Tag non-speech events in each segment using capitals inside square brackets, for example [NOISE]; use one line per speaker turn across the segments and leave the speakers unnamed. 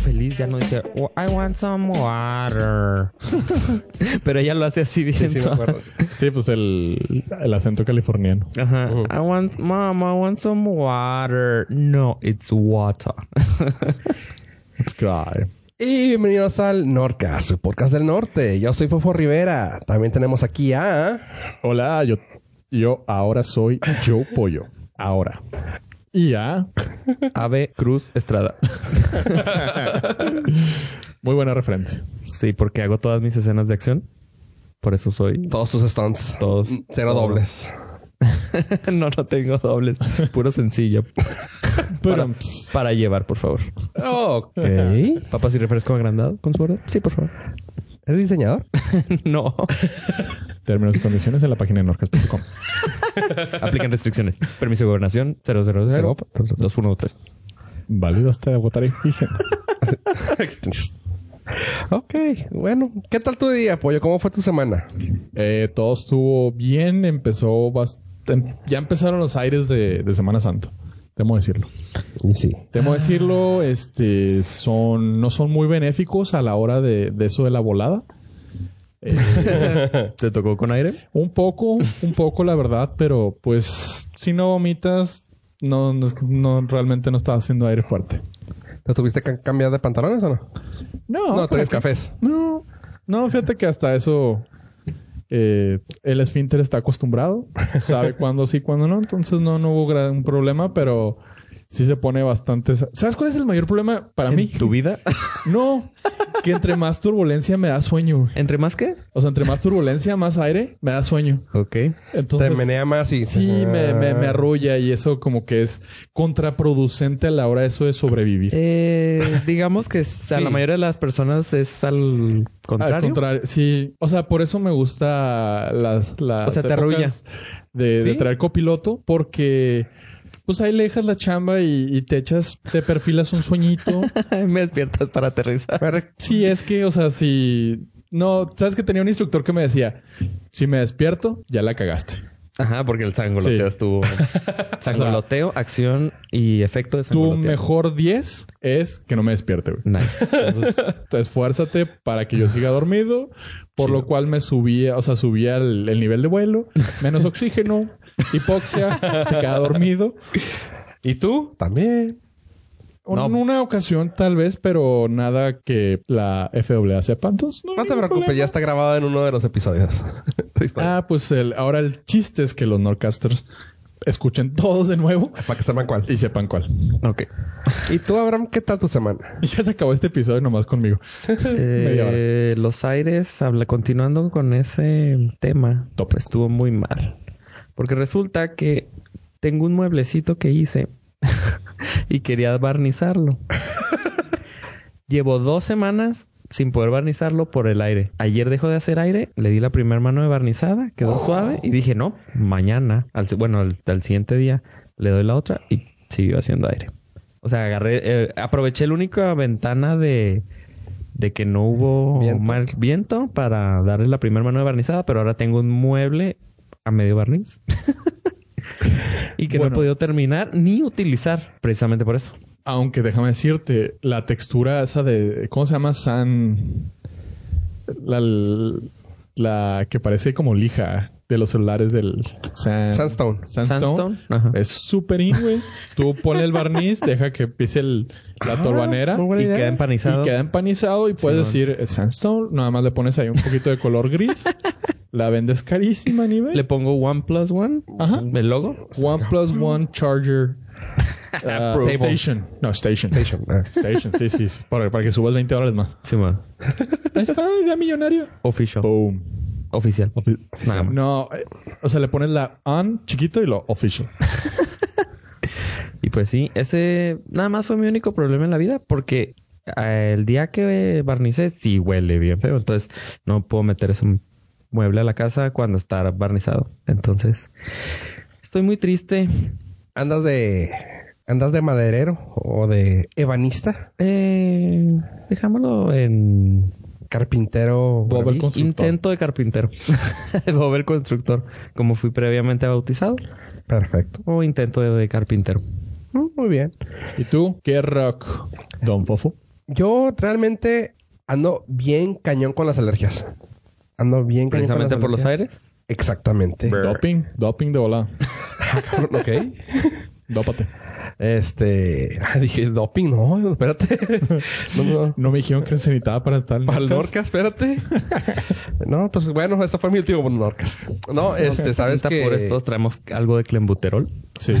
feliz. Ya no dice, "Oh, I want some water. [LAUGHS] Pero ella lo hace así bien.
Sí, me
suave.
acuerdo.
[LAUGHS] Sí, pues el, el acento californiano.
Ajá.
Uh-huh.
Ujú.
I want, mom, I want some water. No, it's
[LAUGHS]
water.
It's guy.
Y bienvenidos al Nordcast, el podcast del norte. Yo soy Fofo Rivera. También tenemos aquí a...
Hola, yo, yo ahora soy Joe Pollo. Ahora. Y ya.
Ave Cruz Estrada.
Muy buena referencia.
Sí, porque hago todas mis escenas de acción. Por eso soy.
Todos tus stunts.
Todos.
Mm, Cero
Oh.
dobles.
[LAUGHS] no, no tengo dobles. Puro
[LAUGHS]
sencillo. para,
Pero,
para llevar, por favor.
Ok.
Papas y refresco agrandado con su orden. Sí, por favor.
¿Eres
[LAUGHS]
diseñador?
[LAUGHS] no.
términos y condiciones en la página de norcas.com.
Aplican restricciones. Permiso de gobernación 000
Cero.
2113.
Válido hasta agotar exigencias.
ok. Bueno. ¿Qué tal tu día, Pollo? ¿Cómo fue tu semana?
Eh, todo estuvo bien. Empezó bast- em- Ya empezaron los aires de, de Semana Santa. Debo decirlo.
Y sí.
Debo decirlo, este, son, no son muy benéficos a la hora de, de eso de la volada.
¿Te tocó con aire?
Un poco, un poco la verdad, pero pues si no vomitas, no, no, es que- no, realmente no estás haciendo aire fuerte.
¿Te tuviste que cambiar de pantalones o no?
No,
no,
pero-
traes cafés.
No, no, fíjate que hasta eso eh, el esfínter está acostumbrado, sabe cuándo sí, cuándo no, entonces no, no hubo gran problema, pero sí se pone bastante... sa- ¿Sabes cuál es el mayor problema para mí?
¿Tu vida? [LAUGHS]
No, que entre más turbulencia me da sueño. güey.
¿Entre más qué?
O sea, entre más turbulencia, más aire, me da sueño.
Ok.
Entonces,
Te menea más y...
Sí, me, me,
Ah.
me arrulla y eso como que es contraproducente a la hora eso de sobrevivir.
Eh, digamos [LAUGHS] que s- a
Sí.
la mayoría de las personas es al contrario.
Al contrario, sí. O sea, por eso me gusta las, las
O sea, te
épocas de, de
Sí.
traer copiloto porque pues ahí le dejas la chamba y, y te echas, te perfilas un
[LAUGHS]
sueñito.
Me despiertas para aterrizar.
[LAUGHS] Me re-
sí, es que, o sea, si... No, sabes que tenía un instructor que me decía, si me despierto, ya la cagaste.
Ajá, porque el sangoloteo
Sí.
[LAUGHS] estuvo. Sangoloteo, acción y efecto de
Tu
sangoloteo.
mejor 10 es que no me despierte, güey.
Nice.
Entonces, te esfuérzate para que yo siga dormido, por lo cual me subía, o sea, subía el, el nivel de vuelo, menos oxígeno,
[LAUGHS]
hipoxia, te queda dormido.
¿Y tú?
También.
En
No.
una ocasión tal vez, pero nada que la FAA sepa. Entonces, no, hay
No te
ningún
preocupes, ya
problema.
está grabado en uno de los episodios. [LAUGHS] Ahí está.
Ah, pues el, ahora el chiste es que los Norcasters escuchen todos de nuevo
Para que sepan cuál.
Ah. y sepan cuál. [LAUGHS]
Ok.
¿Y tú, Abraham, qué tal tu semana?
Y ya se acabó este episodio nomás conmigo.
[LAUGHS]
Media hora.
Eh, los aires, habla, continuando con ese tema,
Tópico.
estuvo muy mal. Porque resulta que tengo un mueblecito que hice [LAUGHS] y quería barnizarlo. Llevo dos semanas sin poder barnizarlo por el aire. Ayer dejó de hacer aire, le di la primera mano de barnizada, quedó suave y dije, no, mañana, al, si- bueno, al, al siguiente día le doy la otra y siguió haciendo aire. O sea, agarré, eh, aproveché la única ventana de, de que no hubo
Viento.
mal viento para darle la primera mano de barnizada, pero ahora tengo un mueble a medio
[LAUGHS]
barniz. y que no he
Bueno.
podido terminar ni utilizar precisamente por eso.
Aunque déjame decirte, la textura esa de. ¿Cómo se llama? San. La, la que parece como lija de los celulares del.
Eh.
San-
Sandstone.
Sandstone.
Sandstone, ajá.
Es súper in, güey. Tú ponle el barniz, deja que pise el- la torbanera.
Ah, muy buena
Y
idea.
queda empanizado.
Y queda empanizado y puedes decir "Es sandstone. Nada más le pones ahí un poquito de color gris. la vendes carísima, nivel.
Le pongo One Plus One,
Ajá.
el logo.
One plus one charger. ah,
Approval.
station. No, station.
Station. Ah.
Station, sí, sí. sí. Para, para que subas 20 dólares más.
Simón.
Ahí está, idea millonario.
Official.
Boom.
Oficial. Nada más.
No, eh, o sea, le pones la on chiquito y lo official.
Y pues sí, ese nada más fue mi único problema en la vida porque eh, el día que barnicé sí huele bien feo. Entonces no puedo meter ese mueble a la casa cuando está barnizado. Entonces Estoy muy triste.
¿Andas de. ¿Andas de maderero o de ebanista?
Eh, dejámoslo en
Carpintero.
Bob el constructor.
intento de carpintero. [LAUGHS] Bob el constructor, como fui previamente bautizado.
Perfecto.
O intento de, de carpintero.
Mm, Muy bien.
¿Y tú? ¿Qué rock, Don Fofo?
Yo realmente ando bien cañón con las alergias. Ando bien cañón con
Precisamente
las
por los
alergias.
aires.
Exactamente.
Doping, doping de volada.
[LAUGHS] ok.
Dópate.
Este. [LAUGHS] Dije, doping, no, espérate. [LAUGHS] no, no.
No me dijeron que se necesitaba para tal.
Para el
Norcas.
Norcas,
[LAUGHS]
espérate. No, pues bueno, ese fue mi último Norcas. No, este, sabes
Ahorita
que...
por estos traemos algo de clembuterol.
Sí.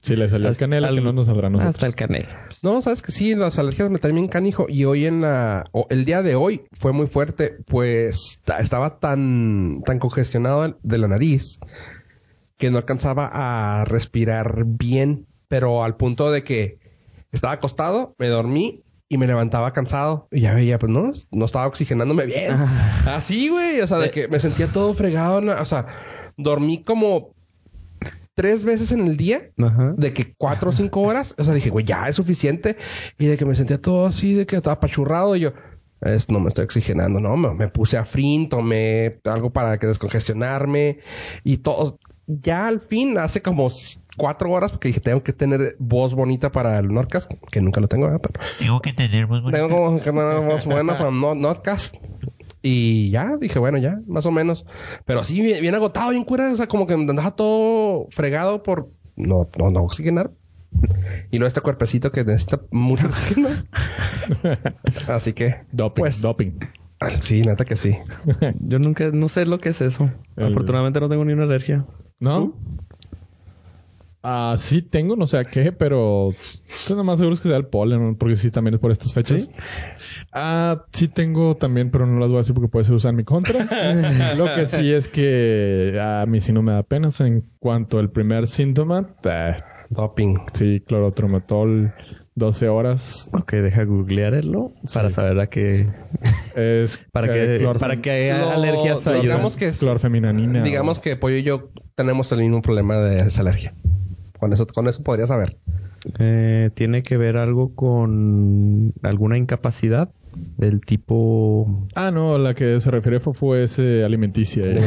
sí, le salió el canela que no nos saldrá a nosotros.
Hasta el canel.
No, sabes que sí, las alergias me traen bien canijo. Y hoy en la... o el día de hoy fue muy fuerte, pues ta- estaba tan, tan congestionado de la nariz que no alcanzaba a respirar bien. Pero al punto de que estaba acostado, me dormí y me levantaba cansado. Y ya veía, pues no, no estaba oxigenándome bien. Así, güey. O sea, de que me sentía todo fregado. na- O sea, dormí como tres veces en el día
Ajá.
de que cuatro o cinco horas, o sea, dije, güey, ya es suficiente. Y de que me sentía todo así, de que estaba apachurrado. Y yo, es, no me estoy oxigenando, no, me, me puse afrin, tomé algo para que descongestionarme y todo. Ya al fin, hace como s- cuatro horas, porque dije, tengo que tener voz bonita para el Nordcast, que nunca lo tengo, ¿verdad? Pero
Tengo que tener muy buena.
tengo como que una voz buena para no, Nordcast. Y ya, dije, bueno, ya, más o menos. Pero sí, bien, bien agotado, bien cura. O sea, como que me andaba todo fregado por no, no, no oxigenar. Y luego este cuerpecito que necesita mucho oxígeno. Así que,
Doping, doping.
ah, sí, neta que sí.
Yo nunca, no sé lo que es eso.
El-
Afortunadamente no tengo ni una alergia.
¿No? Ah, sí tengo, no sé a qué, pero estoy lo más seguro es que sea el polen, porque sí también es por estas fechas. Ah, sí tengo también, pero no las voy a decir porque puede ser usada en mi contra. Lo que sí es que a mí sí no me da pena. En cuanto al primer síntoma, eh,
Doping.
sí, clorotrometol, 12 horas.
Ok, deja googlearlo para saber a qué.
Es,
Para
eh,
que,
clorfen-
para que
Lo-
alergias
lo-
ayuden.
digamos que es-
clorfeminanina.
Digamos que Pollo y yo tenemos el mismo problema de esa alergia. Con eso, con eso podría saber.
Eh, tiene que ver algo con alguna incapacidad del tipo.
Ah, no, la que se refiere fue, fue ese alimenticia. eh.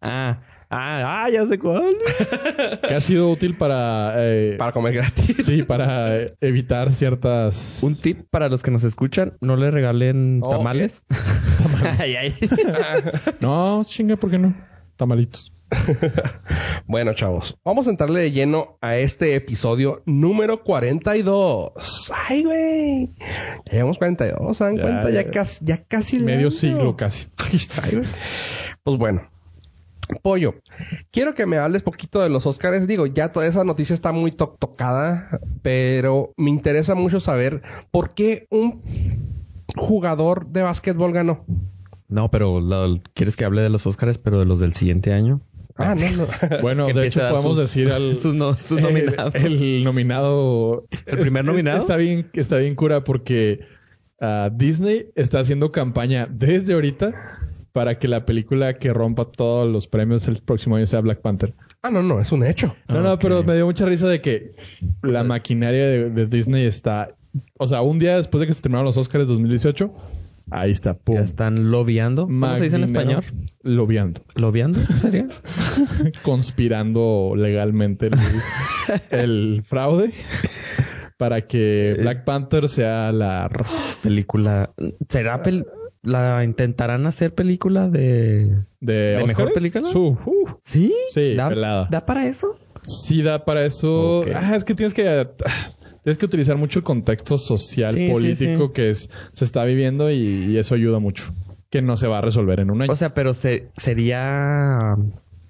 Ah, ah, ah, ya sé cuál.
que ha sido útil para... eh,
Para comer gratis.
Sí, para eh, evitar ciertas...
[LAUGHS] Un tip para los que nos escuchan: no le regalen
Oh,
tamales. [LAUGHS] Ay, ay.
No, chinga, ¿por qué no? Tamalitos.
[LAUGHS] Bueno, chavos, vamos a entrarle de lleno a este episodio número 42. Ay, güey. Ya llevamos 42, ¿se dan
Ya,
cuenta? Ya,
ya.
casi, ya casi el
Medio
año.
siglo casi.
[LAUGHS] Ay, güey. Pues bueno. Pollo, quiero que me hables poquito de los Óscares. Digo, ya toda esa noticia está muy to- tocada, pero me interesa mucho saber por qué un jugador de básquetbol ganó.
[LAUGHS] No, pero lo- ¿quieres que hable de los Óscares, pero de los del siguiente año?
Ah, no,
[LAUGHS]
[LAUGHS] no.
Bueno,
Que
de
empiece
hecho
a dar
podemos
sus-
decir al...
[LAUGHS] sus no- sus nominados.
El, el nominado...
¿El primer
Es-
nominado?
Está bien, está bien cura porque ah, Disney está haciendo campaña desde ahorita para que la película que rompa todos los premios el próximo año sea Black Panther.
Ah, no, no, es un hecho.
No, no, pero me dio mucha risa de que la maquinaria de, de Disney está... O sea, un día después de que se terminaron los Oscars 2018, ahí está. Pum.
Ya están lobiando. ¿Cómo se dice en
Maquinero
español?
Lobiando. [LAUGHS]
¿Lobiando? ¿Sería?
Conspirando
[LAUGHS]
legalmente el, el fraude para
Eh.
que Black Panther sea la...
película. ¿Será pel- la intentarán hacer película de
¿De,
mejor
Óscares?
película?
Su- uh,
Sí?
Sí,
¿Da,
pelada.
¿Da para eso?
sí da para eso...
Ok.
Ah, es que tienes que... ah, Tienes que utilizar mucho el contexto social,
Sí, sí,
político
sí.
que es, se está viviendo y, y eso ayuda mucho. Que no se va a resolver en un año.
O sea, pero se- sería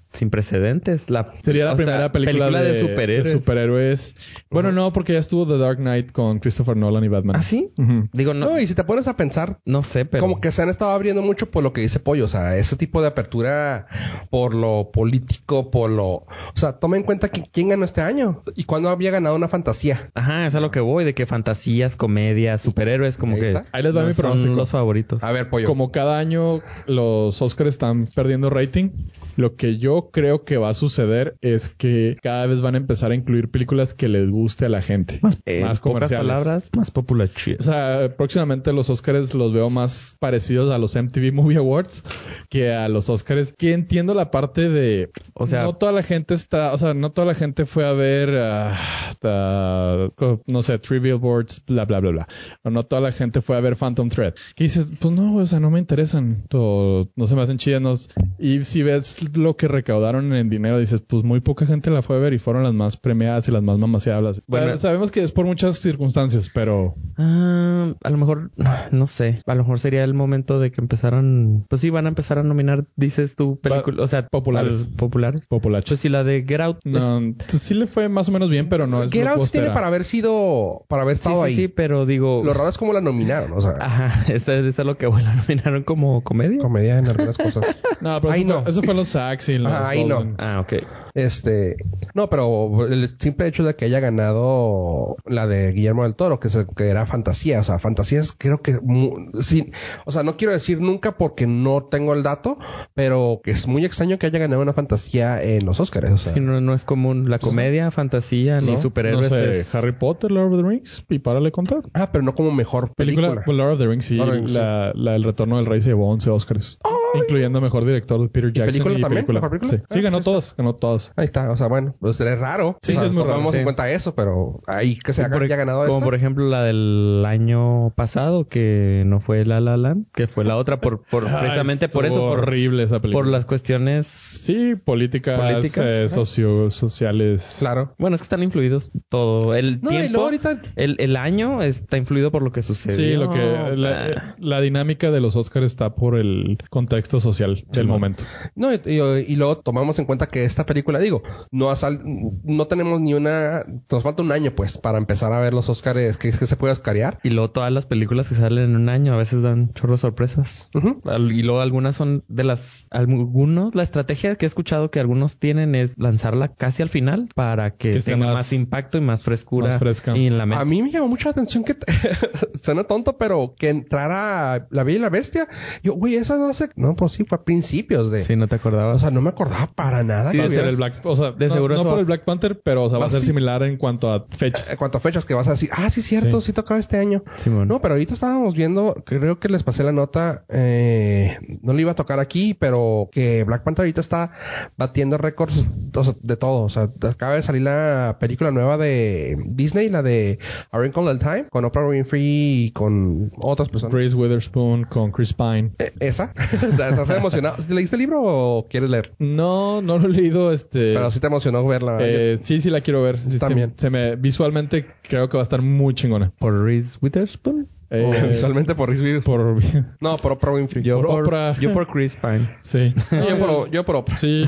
sin precedentes. La,
Sería la
o sea,
primera película,
de,
de,
superhéroes.
de superhéroes. Bueno, no, porque ya estuvo The Dark Knight con Christopher Nolan y Batman.
¿Ah, sí?
Ujú.
Digo, no,
No,
no,
y si te pones a pensar,
sé, pero.
Como que se han estado abriendo mucho por lo que dice Pollo, o sea, ese tipo de apertura por lo político, por lo... O sea, toma en cuenta que, quién ganó este año y cuándo había ganado una fantasía.
Ajá, es a lo que voy, de que fantasías, comedias, superhéroes, como
Ahí
que.
está.
Ahí les va
no
mi
son
pronóstico.
los favoritos.
A ver, Pollo.
Como cada año los Oscars están perdiendo rating, lo que yo yo creo que va a suceder es que cada vez van a empezar a incluir películas que les guste a la gente. Más,
Eh,
más
en pocas
comerciales.
palabras, más popular
O sea, próximamente los Oscars los veo más parecidos a los MTV Movie Awards que a los Oscars. Que entiendo la parte de...
O sea-
No toda la gente está... O sea, no toda la gente fue a ver... ah, ah, co- no sé, Trivial Boards, bla, bla, bla, bla. O no toda la gente fue a ver Phantom Thread. Que dices, pues no, o sea, no me interesan. o no se me hacen chidas. no s- y si ves lo que recaudaron en dinero, dices, pues muy poca gente la fue a ver y fueron las más premiadas y las más mamaseables.
Bueno.
Sab- sabemos que es por muchas circunstancias, pero...
Ah, a lo mejor, no sé, a lo mejor sería el momento de que empezaran, pues sí, van a empezar a nominar, dices tú, películas, o sea,
populares.
al- populares.
Popolacho.
Pues si la de Get Out, es-
No, pues, sí le fue más o menos bien, pero no es
Get Out tiene
blockbustera.
para haber sido, para haber
sí,
estado
sí,
ahí.
sí, Ah. pero digo,
Lo raro es cómo la nominaron, o sea,
ajá, [LAUGHS] esa esa es lo que voy, la nominaron como comedia.
comedia en algunas cosas.
No, pero
Ahí
eso,
no.
Fue, eso fue los Sacks y los
Ah, ahí no.
Goldens.
Ah, ok.
Este, no, pero el simple hecho de que haya ganado la de Guillermo del Toro, que, se- que era fantasía, o sea, fantasías creo que, mu- sí, o sea, no quiero decir nunca porque no tengo el dato, pero que es muy extraño que haya ganado una fantasía en los Oscars, o sea,
Sí, no, no es común la comedia, fantasía, ni
Pues ¿No?
superhéroes.
No sé,
es-
Harry Potter, Lord of the Rings, y párale contar.
ah, pero no como mejor
Película,
película.
pues, Lord of the Rings, sí.
Lord of the Rings,
la, la- El Retorno del Rey se llevó 11 Oscars, incluyendo mejor director de Peter Jackson.
película
y
también? ¿Mejor película? Ah,
Sí, Sí, ganó todas, ganó todas.
Ahí está, o sea, bueno, pues es raro.
Sí,
O sea,
sí, es muy raro,
tomamos
sí.
en cuenta eso, pero ahí que se
Sí,
haya,
por-
haya ganado
Como
esta.
por ejemplo la del año pasado, que no fue La La Land, que fue la otra, por, por
Ay,
precisamente por eso,
Ah, estuvo
por,
horrible esa película.
por las cuestiones
Sí, políticas,
Políticas,
eh,
¿eh?
socio- sociales.
Claro.
Bueno, es que están influidos todo. El
No, y
tiempo,
luego ahorita-
el, el año está influido por lo que sucedió.
Sí, lo que
Ah.
la, la dinámica de los Oscars está por el contexto social del momento.
No, y, y- y luego tomamos en cuenta que esta película, digo, no, ha sal- no tenemos ni una... Nos falta un año, pues, para empezar a ver los Oscars que, que se puede oscarear.
Y luego todas las películas que salen en un año a veces dan chorro de sorpresas.
Ujú.
Al- Y luego algunas son de las... Algunos... La estrategia que he escuchado que algunos tienen es lanzarla casi al final para que,
Que esté
tenga
más-
más, impacto y más frescura.
más fresca.
Y en la mente.
A mí me llamó mucho la atención que... [LAUGHS] suena tonto, pero que entrara La Bella y la Bestia. Yo, güey, esa no sé... No, pues sí, fue a principios de...
Sí, no te
O
acordabas.
sea, no me acordaba para nada.
va
que
a ser
hubiera-
el Black, o sea,
Ah, De
no,
seguro
no
eso va-
por el Black Panther, pero o sea, va a
Ah,
ser
sí.
similar en cuanto a
en
fechas.
cuanto a fechas que vas a decir, ah, sí, cierto, sí,
Sí.
tocaba este año.
Simón.
No, pero ahorita estábamos viendo, creo que les pasé la nota, eh, no le iba a tocar aquí, pero que Black Panther ahorita está batiendo récords o sea, de todo. O sea, acaba de salir la película nueva de Disney, la de A Wrinkle in Time, con Oprah Winfrey y con otras personas.
Reese Witherspoon con Chris Pine.
Eh, esa. [LAUGHS] ¿Estás emocionado? ¿Leíste el libro o quieres leer?
No, no lo he leído, este.
Pero sí te emocionó verla.
eh, sí, sí la quiero ver. Sí, sí,
También.
Se, me visualmente creo que va a estar muy chingona.
¿Por Reese Witherspoon?
Yo-
Eh,
Visualmente por Reese Witherspoon. [LAUGHS]
por
No, por Oprah Winfrey.
Yo
Por
por,
Oprah.
yo por Chris Pine.
[LAUGHS] sí.
No, yo, por, yo por Oprah.
Sí.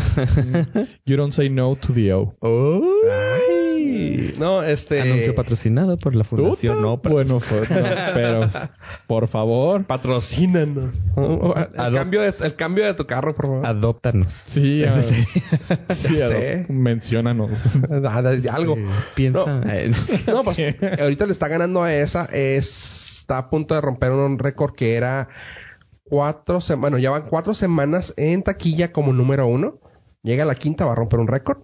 You don't say no to the O.
¡Oh!
No, este...
Anuncio patrocinado por la Fundación
Puta.
Oprah.
Bueno, fue- no,
[LAUGHS]
pero por favor.
Patrocínanos. El
Ado-
cambio, de, el cambio de tu carro, por favor.
Adóptanos.
[LAUGHS] Sí, a- sí,
Ya
a-
sé.
menciónanos.
[LAUGHS]
Ah, de- de Algo.
Piensa.
No, pues ahorita le está ganando a esa. Es- está a punto de romper un récord que era cuatro semanas. Bueno, ya van cuatro semanas en taquilla como número uno. Llega a la quinta, va a romper un récord.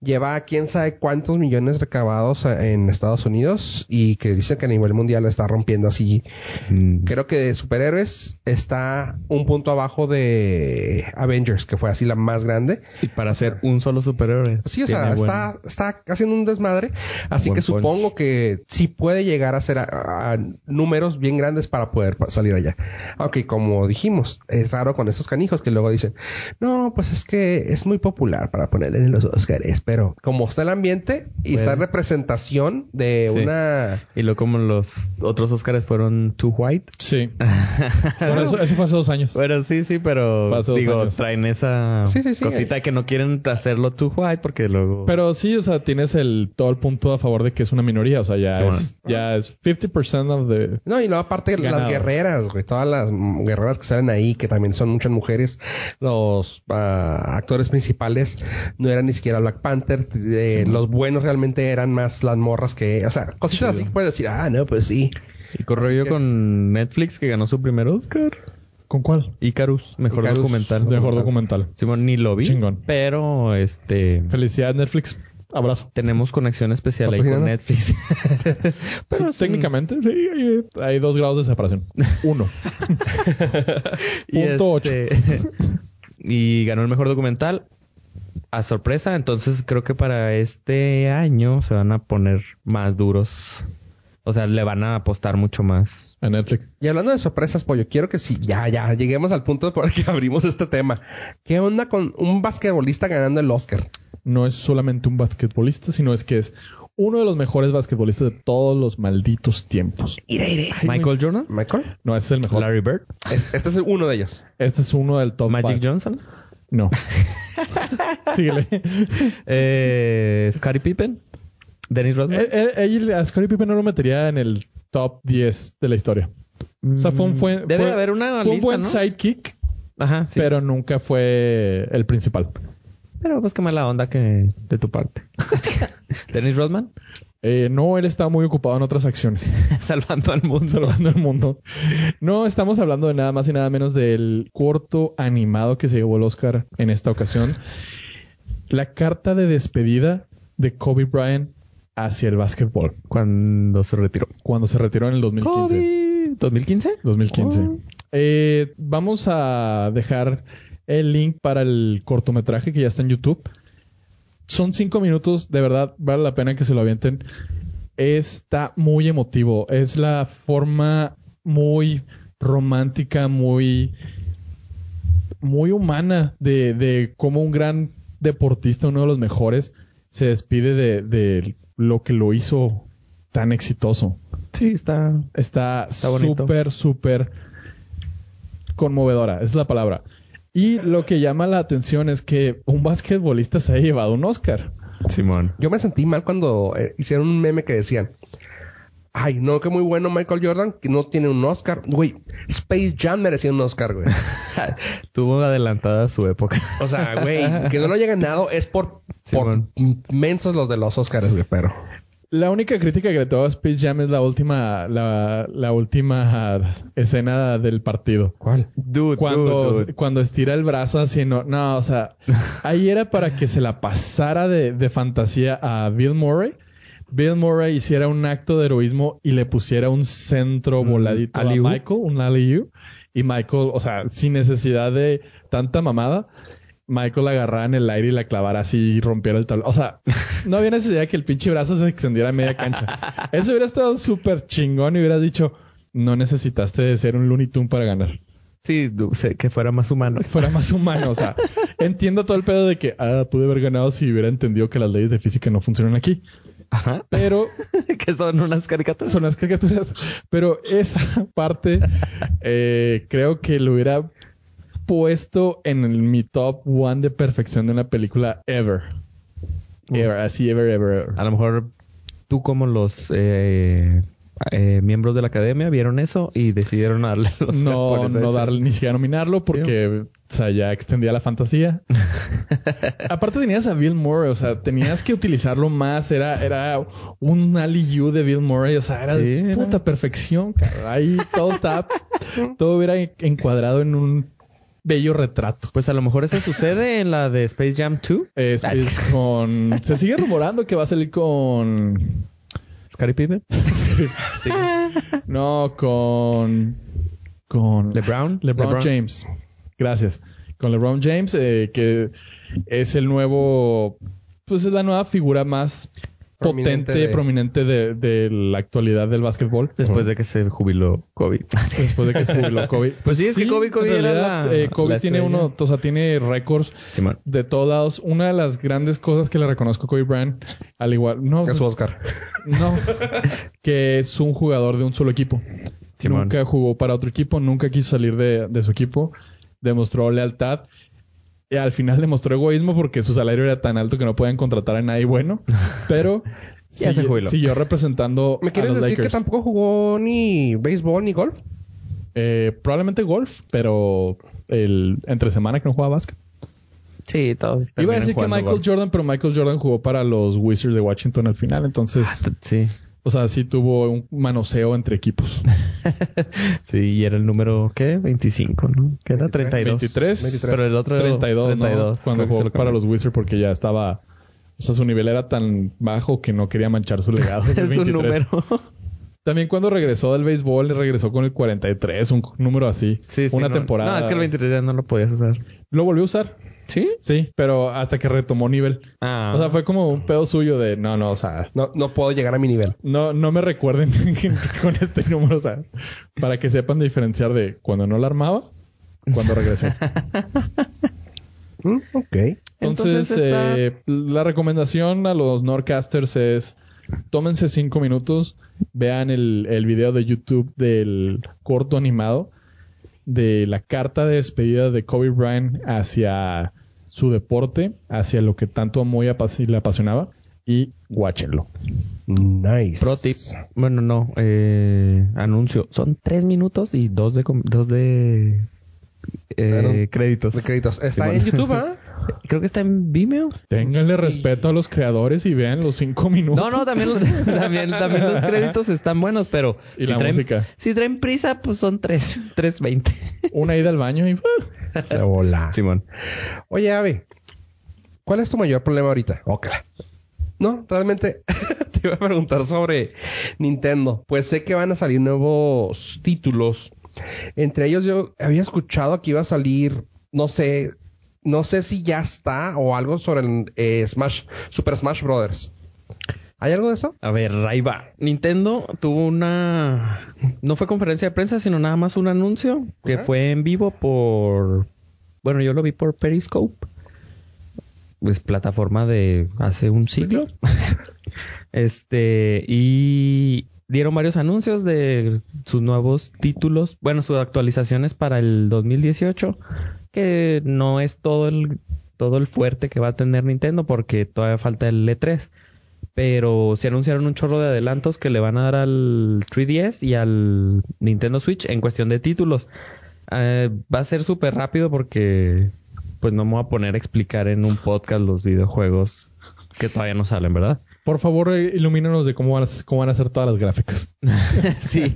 Lleva quién sabe cuántos millones recabados eh, en Estados Unidos y que dicen que a nivel mundial la está rompiendo así [LAUGHS]
Mm.
Creo que de superhéroes está un punto abajo de Avengers, que fue así la más grande.
Y para ser un solo superhéroe.
Sí, o
tiene
sea,
buen-
está, está haciendo un desmadre. Así
Buen
que
punch.
supongo que sí puede llegar a ser a- a números bien grandes para poder pa- salir allá. Aunque como dijimos, es raro con esos canijos que luego dicen, no, pues es que es muy popular para poner en los Oscars, pero como está el ambiente y está
Bueno.
representación de
Sí.
una...
Y luego como los otros Óscares fueron Too White.
Sí. Bueno, eso, eso fue hace dos años.
Bueno, sí, sí, pero
Pasó dos
digo,
años.
traen esa
Sí, sí, sí.
cosita que no quieren hacerlo Too White porque luego...
Pero sí, o sea, tienes el todo el punto a favor de que es una minoría. O sea, ya
Sí, bueno.
es, ya es 50% of the...
No, y luego aparte
Ganado.
las guerreras, güey, todas las mm, guerreras que salen ahí, que también son muchas mujeres, los ah, actores principales no eran ni siquiera Black Panther, eh, los buenos realmente eran más las morras que, o sea, cositas así que puedes decir, ah, no, pues sí.
y corro yo
que-
con Netflix que ganó su primer Óscar.
¿Con cuál?
Icarus, mejor
Icarus.
documental.
Mejor documental.
Simón, ni lo vi.
Chingón.
Pero este
Felicidades, Netflix. Abrazo.
tenemos conexión especial ahí con
¿Patrocínanos?
Netflix. [LAUGHS]
Sí,
es un-
técnicamente, sí, hay, hay dos grados de [LAUGHS] separación. Uno.
y,
Punto
este- [LAUGHS] y ganó el mejor documental a sorpresa. Entonces creo que para este año se van a poner más duros. O sea, le van a apostar mucho más.
En Netflix.
Y hablando de sorpresas, pollo, quiero que sí, ya, ya, lleguemos al punto por el que [LAUGHS] abrimos este tema. ¿Qué onda con un basquetbolista ganando el Oscar?
No es solamente un basquetbolista, sino es que es uno de los mejores basquetbolistas de todos los malditos tiempos.
Michael Jordan,
¿Michael?
No, ese es el mejor.
Larry Bird,
Es- este es uno de ellos.
Este es uno del top
Magic
five.
Johnson,
No. Síguele.
eh, Scottie Pippen, Dennis Rodman.
Eh, eh, ahí a Scottie Pippen no lo metería en el top 10 de la historia. O sea, fue un buen...
Mm, Debe
fue-
de haber una
Fue un
lista,
buen
¿no?
sidekick,
Ajá, sí.
pero nunca fue el principal.
Pero pues qué mala onda que de tu
[LAUGHS]
parte. Dennis Rodman, [LAUGHS]
Eh, no, él estaba muy ocupado en otras acciones.
salvando al mundo.
salvando el mundo. No, estamos hablando de nada más y nada menos del corto animado que se llevó el Oscar en esta ocasión. La carta de despedida de Kobe Bryant hacia el básquetbol
Cuando se retiró.
cuando se retiró en el 2015.
Kobe. ¿2015?
2015.
Oh.
Eh, vamos a dejar el link para el cortometraje que ya está en YouTube. Son cinco minutos, de verdad, vale la pena que se lo avienten. Está muy emotivo. Es la forma muy romántica, muy, muy humana de, de cómo un gran deportista, uno de los mejores, se despide de, de lo que lo hizo tan exitoso.
Sí, está.
Está
Está bonito.
súper, súper conmovedora, es la palabra. Y lo que llama la atención es que un basquetbolista se ha llevado un Oscar.
Simón.
Yo me sentí mal cuando eh, hicieron un meme que decían, ay, no, que muy bueno Michael Jordan, que no tiene un Oscar. Güey, Space Jam merecía un Oscar, güey.
[LAUGHS] Tuvo adelantada su época.
O sea, güey, que no lo haya ganado es por, por
Simón.
mensos los de los Oscars, güey, pero...
La única crítica que le tengo a Space Jam es la última, la, la última ah, escena del partido.
¿Cuál?
Dude,
Cuando,
dude, dude.
cuando estira el brazo así, no, no,
[LAUGHS]
o sea, ahí era para que se la pasara de, de fantasía a Bill Murray. Bill Murray hiciera un acto de heroísmo y le pusiera un centro voladito a
alley-oop.
Michael, un alley Y Michael, o sea, sin necesidad de tanta mamada, Michael la agarrara en el aire y la clavara así y rompiera el tablón. O sea, no había necesidad de que el pinche brazo se extendiera a media cancha.
[LAUGHS]
Eso hubiera estado súper chingón y hubieras dicho, no necesitaste de ser un Looney Tunes para ganar
Sí, du- sé que fuera más humano.
fuera más humano. O sea, entiendo todo el pedo de que ah, pude haber ganado si hubiera entendido que las leyes de física no funcionan aquí.
Ajá.
Pero
[LAUGHS] que son unas caricaturas.
son las caricaturas. Pero esa parte eh, creo que lo hubiera puesto en el- mi top one de perfección de una película ever. Ever, así, ever, ever, ever.
A lo mejor tú, como los eh, eh, miembros de la academia, vieron eso y decidieron darle los
No, no darle, ni siquiera nominarlo porque, o sea, ya extendía
[LAUGHS]
la fantasía. Aparte tenías a Bill Murray, o sea, tenías que utilizarlo más. Era, era un alley-oop de Bill Murray, o sea, era
Sí,
de
era.
puta perfección. cabrón. Ahí todo estaba,
[LAUGHS]
todo hubiera encuadrado en un bello retrato.
Pues a lo mejor eso sucede en la de Space Jam 2.
Es- es con,
[LAUGHS]
se sigue rumorando que va a salir con,
Scottie Pippen. sí.
no, con, con
LeBron.
LeBron, James. Gracias. Con LeBron James, eh, que es el nuevo, pues es la nueva figura más
Prominente
potente,
de-
prominente de, de la actualidad del básquetbol.
Después de que se jubiló [LAUGHS] Kobe.
Después de que se
[LAUGHS]
jubiló Kobe. Pues
sí, es que Kobe-
en
Kobe era la-
eh, Kobe
la
tiene
estrella.
uno, o sea, tiene récords
Simón.
de todos lados. Una de las grandes cosas que le reconozco a Kobe Bryant, al igual, no, pues
Es su Oscar.
no, que es un jugador de un solo equipo.
Simón.
Nunca jugó para otro equipo, nunca quiso salir de, de su equipo, demostró lealtad y al final demostró egoísmo porque su salario era tan alto que no podían contratar a
[LAUGHS]
nadie bueno, pero
Ya se
siguió,
jubiló.
siguió representando
¿Me
a
quieres
los
decir que
Lakers.
tampoco jugó ni béisbol ni golf?
Eh, probablemente golf, pero el entre semana que no jugaba básquet.
Sí, todos.
Iba a
terminan
decir que
jugando
Michael
golf. Ah,
Jordan, pero Michael Jordan jugó para los Wizards de Washington al final, entonces
Sí.
O sea, sí tuvo un manoseo entre equipos.
Sí, y era el número, ¿qué? 25, ¿no? Que era 32.
23,
23.
Pero el otro era
32,
32,
¿no? cuando
creo que se
jugó
lo
para
cambió.
los Wizards porque ya estaba... O sea, su nivel era tan bajo que no quería manchar su legado.
[LAUGHS]
del
Es un
23.
número.
También cuando regresó del béisbol, le regresó con el 43, un número así.
[LAUGHS] Sí, sí,
Una
no-
temporada.
No, es que el 23 ya no lo podías usar.
Lo volvió a usar,
¿Sí?
sí, pero hasta que retomó nivel.
Ah.
O sea, fue como un pedo suyo de, no, no, o sea,
No, no puedo llegar a mi nivel.
no, no me recuerden [LAUGHS] con este número, o sea, para que sepan diferenciar de cuando no la armaba, cuando regresé.
Mm, ok.
Entonces,
Entonces, está-
eh, la recomendación a los Nordcasters es tómense cinco minutos, vean el, el video de YouTube del corto animado de la carta de despedida de Kobe Bryant hacia su deporte, hacia lo que tanto amó y apas- y le apasionaba, y guáchenlo.
Nice.
Pro tip. Bueno, no. Eh, anuncio. Son tres minutos y dos de, com- dos de eh,
Claro.
créditos.
De créditos. Está
Simón.
en YouTube, ¿ah?
[LAUGHS] Creo que está en Vimeo.
Ténganle respeto a los creadores y vean los cinco minutos.
No, no, también los, [LAUGHS] también, también los créditos están buenos, pero...
Y la
traen,
música.
Si traen prisa, pues son tres. [LAUGHS] 3.20.
Una ida al baño y... ¡ah!
De bola.
Simón.
Oye, Avi, ¿cuál es tu mayor problema ahorita? Ócala. No, realmente [LAUGHS] te iba a preguntar sobre Nintendo. Pues sé que van a salir nuevos títulos. Entre ellos yo había escuchado que iba a salir, no sé, no sé si ya está o algo sobre el eh, Smash, Super Smash Brothers. ¿Hay algo de eso?
A ver, ahí va. Nintendo tuvo una... No fue conferencia de prensa, sino nada más un anuncio que
Ajá.
fue en vivo por... Bueno, yo lo vi por Periscope. Pues plataforma de hace un siglo. [LAUGHS] este, y dieron varios anuncios de sus nuevos títulos, bueno, sus actualizaciones para el 2018, que no es todo el, todo el fuerte que va a tener Nintendo porque todavía falta el E E3 pero se anunciaron un chorro de adelantos que le van a dar al 3DS y al Nintendo Switch en cuestión de títulos. Eh, va a ser súper rápido porque pues no me voy a poner a explicar en un podcast los videojuegos que todavía no salen, ¿verdad?
Por favor, eh, ilumínanos de cómo van, a, cómo van a ser todas las gráficas. [LAUGHS]
sí,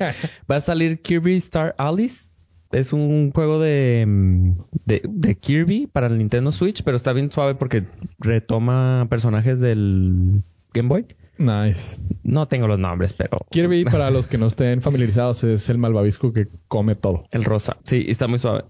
va a salir Kirby Star Alice. Es un juego de, mm, de, de Kirby para el Nintendo Switch, pero está bien suave porque retoma personajes del Game Boy.
Nice.
No tengo los nombres, pero...
Kirby, para los que no estén familiarizados, es el malvavisco que come todo.
El rosa. Sí, y está muy suave.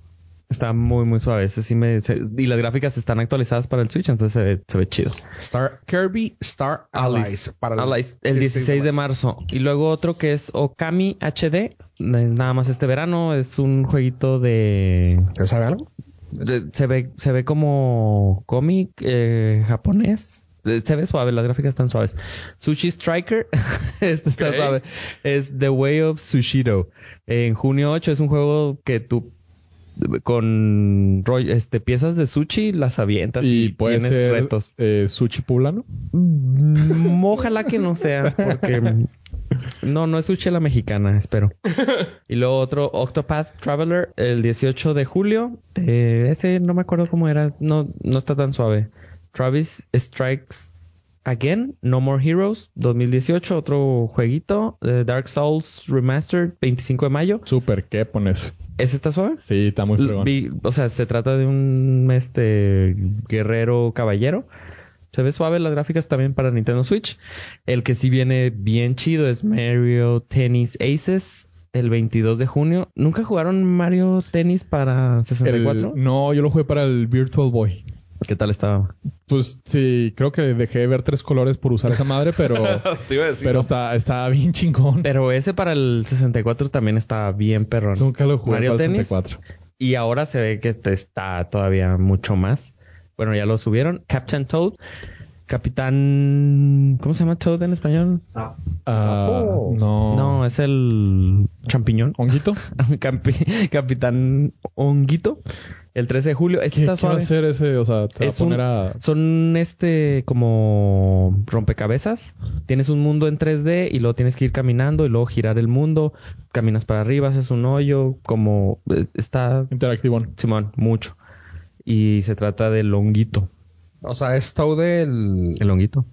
Está muy, muy suave. Ese sí me, se- y las gráficas están actualizadas para el Switch, entonces se ve, se ve chido.
Star, Kirby Star Allies. para este
Allies, el 16 de marzo. Y luego otro que es Okami HD. Nada más este verano. Es un jueguito de...
¿Te sabe algo?
de- se, ve, se ve como cómic eh, japonés. Eh, Se ve suave, las gráficas están suaves. Sushi Striker, [LAUGHS] este está
Ok.
suave. Es The Way of Sushiro. En junio 8 es un juego que tú con roll- este, piezas de sushi las avientas y,
Y puede
tienes
ser
retos.
eh, sushi poblano.
Mm, Ojalá que no sea, porque mm, no, no es sushi a la mexicana, espero. Y luego otro Octopath Traveler el 18 de julio. Eh, ese no me acuerdo cómo era, no, no está tan suave. Travis Strikes Again, No More Heroes 2018, otro jueguito. Eh, Dark Souls Remastered 25 de mayo.
Super, ¿qué pones?
¿Ese está suave?
Sí, está muy fregón.
Vi- o sea, se trata de un este guerrero caballero. Se ve suave las gráficas también para Nintendo Switch. El que sí viene bien chido es Mario Tennis Aces el 22 de junio. ¿Nunca jugaron Mario Tennis para
El-
64?
no, yo lo jugué para el Virtual Boy.
¿Qué tal estaba?
Pues sí, creo que dejé de ver tres colores por usar esa madre,
[LAUGHS]
pero,
Te iba a
pero está, está bien chingón.
Pero ese para el 64 también estaba bien perrón.
Nunca lo jugué
Mario
para el
Tennis.
64.
Y ahora se ve que te está todavía mucho más. Bueno, ya lo subieron. Captain Toad. Capitán... ¿Cómo se llama Toad en español?
Ah,
Sapo.
no.
Oh. No, es el champiñón.
¿Honguito?
[LAUGHS] Campi- Capitán Honguito. El 13 de julio. Este
¿Qué,
está
qué va a
suave.
hacer ese? O sea, te va a
Es un-
poner a...
Son este como rompecabezas. Tienes un mundo en 3D y luego tienes que ir caminando y luego girar el mundo. Caminas para arriba, haces un hoyo. Como eh, está
Interactivón.
Simón, mucho. Y se trata del honguito.
O sea, es todo del...
¿El honguito?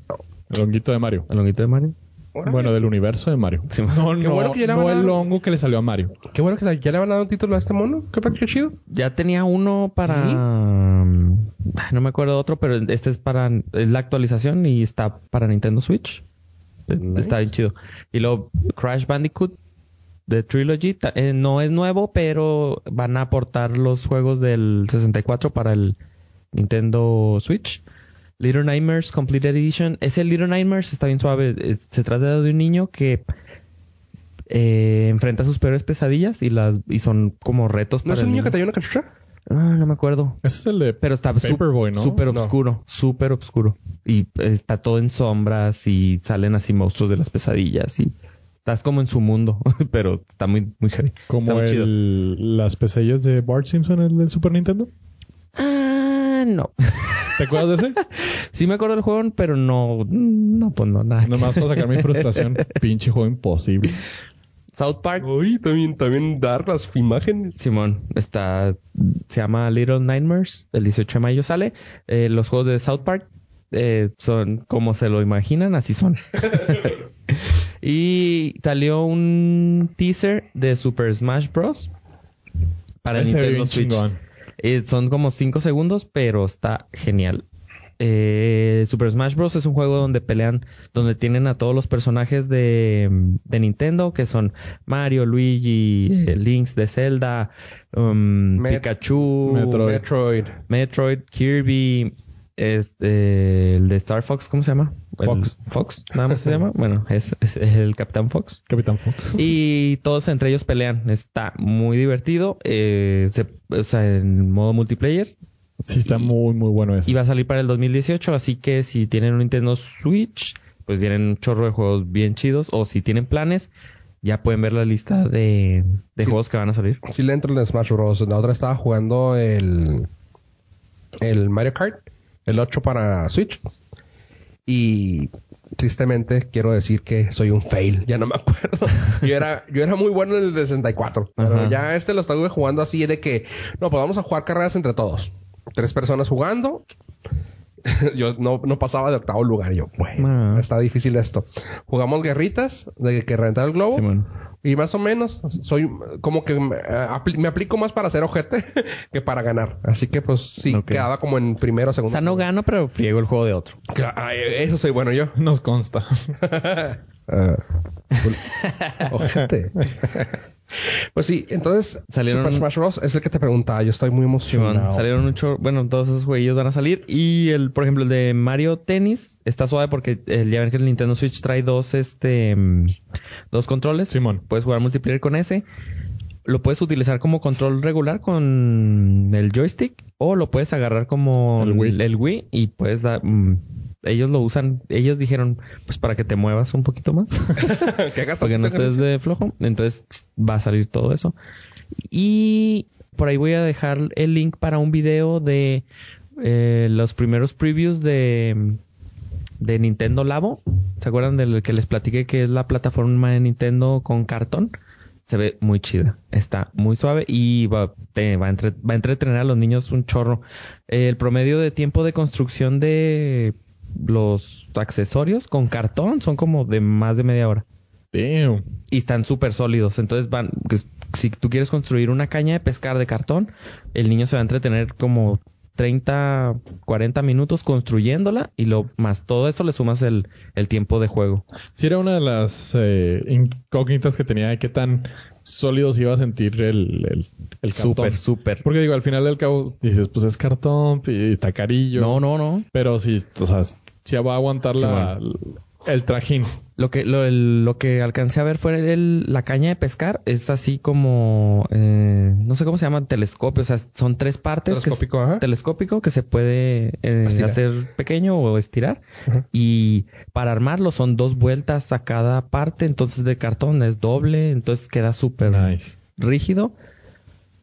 El honguito de Mario.
¿El honguito de Mario?
Órale.
Bueno, del universo de Mario.
Sí,
No,
Qué
no,
bueno que ya le
no
van a dar-
el hongo que le salió a Mario.
Qué bueno que la- ya le van a dar un título a este mono. Qué, pa- qué chido.
Ya tenía uno para. mm,
¿Sí?
Ay, No me acuerdo otro, pero este es para. Es la actualización y está para Nintendo Switch. Eh, Está bien chido. Y luego Crash Bandicoot de Trilogy. ta- eh, no es nuevo, pero van a aportar los juegos del 64 para el Nintendo Switch. Little Nightmares Complete Edition. Ese Little Nightmares está bien suave. Es- se trata de un niño que eh, enfrenta sus peores pesadillas y las y son como retos
¿No es
para
un
el
niño que te dio una cachucha?
Ah, no me acuerdo.
Ese es el de
Pero está su-
Paperboy, ¿no?
súper
No.
oscuro, súper oscuro. Y está todo en sombras y salen así monstruos de las pesadillas y estás como en su mundo, [LAUGHS] pero está muy, muy heavy. está
Como
muy chido.
el, las pesadillas de Bart Simpson, el del Super Nintendo.
Ah, no. [LAUGHS]
¿Te acuerdas de ese?
Sí me acuerdo del juego, pero no, no, pues no, nada.
[LAUGHS] Nomás para sacar mi [LAUGHS] frustración. Pinche juego imposible.
South Park,
Uy, también, también dar las imágenes.
Simón, está, se llama Little Nightmares, el 18 de mayo sale. Eh, los juegos de South Park eh, son como se lo imaginan, así son. [LAUGHS] y salió un teaser de Super Smash Bros. para
Ese
Nintendo
bien
Switch.
chingón.
Eh, son como 5 segundos, pero está genial. Eh, Super Smash Bros. es un juego donde pelean, donde tienen a todos los personajes de, de Nintendo, que son Mario, Luigi, eh, Lynx de Zelda, um,
Met-
Pikachu,
Metroid.
Metroid.
Metroid, Kirby, este, el de Star Fox, ¿cómo se llama? El-
Fox.
Fox, nada más se
[LAUGHS]
llama. Bueno, es- es el Capitán Fox.
Capitán Fox.
Y todos entre ellos pelean. Está muy divertido. eh, se- o sea, en modo multiplayer.
Sí, está muy, muy bueno ese.
Y va a salir para el 2018. Así que si tienen un Nintendo Switch, pues vienen un chorro de juegos bien chidos. O si tienen planes, ya pueden ver la lista de, de juegos que van a salir.
Sí le entro en Smash Bros. La otra estaba jugando el... El Mario Kart. El 8 para Switch. Y... Tristemente quiero decir que soy un fail. Ya no
[LAUGHS]
me acuerdo. Yo era, yo era muy bueno en el de 64. Pero
Ajá.
ya este lo estuve jugando así de que... No, pues vamos a jugar carreras entre todos. Tres personas jugando. [LAUGHS] yo no, no pasaba de octavo lugar. Yo, bueno,
Ah.
está difícil esto. Jugamos guerritas de que reventar el globo.
Simón.
Y más o menos, soy como que me, eh, apli- me aplico más para ser ojete [LAUGHS] que para ganar. Así que pues sí,
Ok.
quedaba como en primero,
O
segundo.
sea, no gano, pero friego el juego de otro.
Cla- ah, eh, Eso soy bueno yo.
Nos [LAUGHS] consta.
Ah, ojete. pues sí, entonces
Salieron-
Super Smash Bros. es el que te preguntaba. Yo estoy muy emocionado.
Simón, salieron un chorro. Bueno, todos esos jueguillos van a salir. Y el, por ejemplo, el de Mario Tennis está suave porque el, ya ven que el Nintendo Switch trae dos, este, mm, dos controles.
Simón.
Puedes jugar multiplayer con ese. Lo puedes utilizar como control regular con el joystick o lo puedes agarrar como
El Wii.
y puedes dar... mm, ellos lo usan, ellos dijeron, pues para que te muevas un poquito
[LAUGHS]
más.
[LAUGHS] que hagas [LAUGHS]
Porque no
tantito
estés de flojo. Entonces tss, va a salir todo eso. Y por ahí voy a dejar el link para un video de eh, los primeros previews de, de Nintendo Labo. ¿Se acuerdan del que les platiqué que es la plataforma de Nintendo con cartón? Se ve muy chida. Está muy suave y va, te- va, a entre- va a entretener a los niños un chorro. Eh, el promedio de tiempo de construcción de los accesorios con cartón son como de más de media hora
Damn.
y están súper sólidos. Entonces van, pues, si tú quieres construir una caña de pescar de cartón, el niño se va a entretener como 30, 40 minutos construyéndola y lo más todo eso le sumas el, el tiempo de juego.
Sí, era una de las eh, incógnitas que tenía de qué tan sólidos iba a sentir el, el, el cartón.
Súper, súper.
Porque digo, al final del cabo dices, pues es cartón y está carillo.
No, no, no.
Pero sí, o sea, sí va a aguantar la, el trajín.
Lo que, lo, el- lo que alcancé a ver fue el- la caña de pescar. Es así como, eh, no sé cómo se llama, telescopio. O sea, son tres partes. que-
Telescópico, ajá.
Telescópico que se puede eh,
Estirar.
hacer pequeño o estirar. Y para armarlo son dos vueltas a cada parte. Entonces de cartón es doble. Entonces queda súper
Nice.
rígido.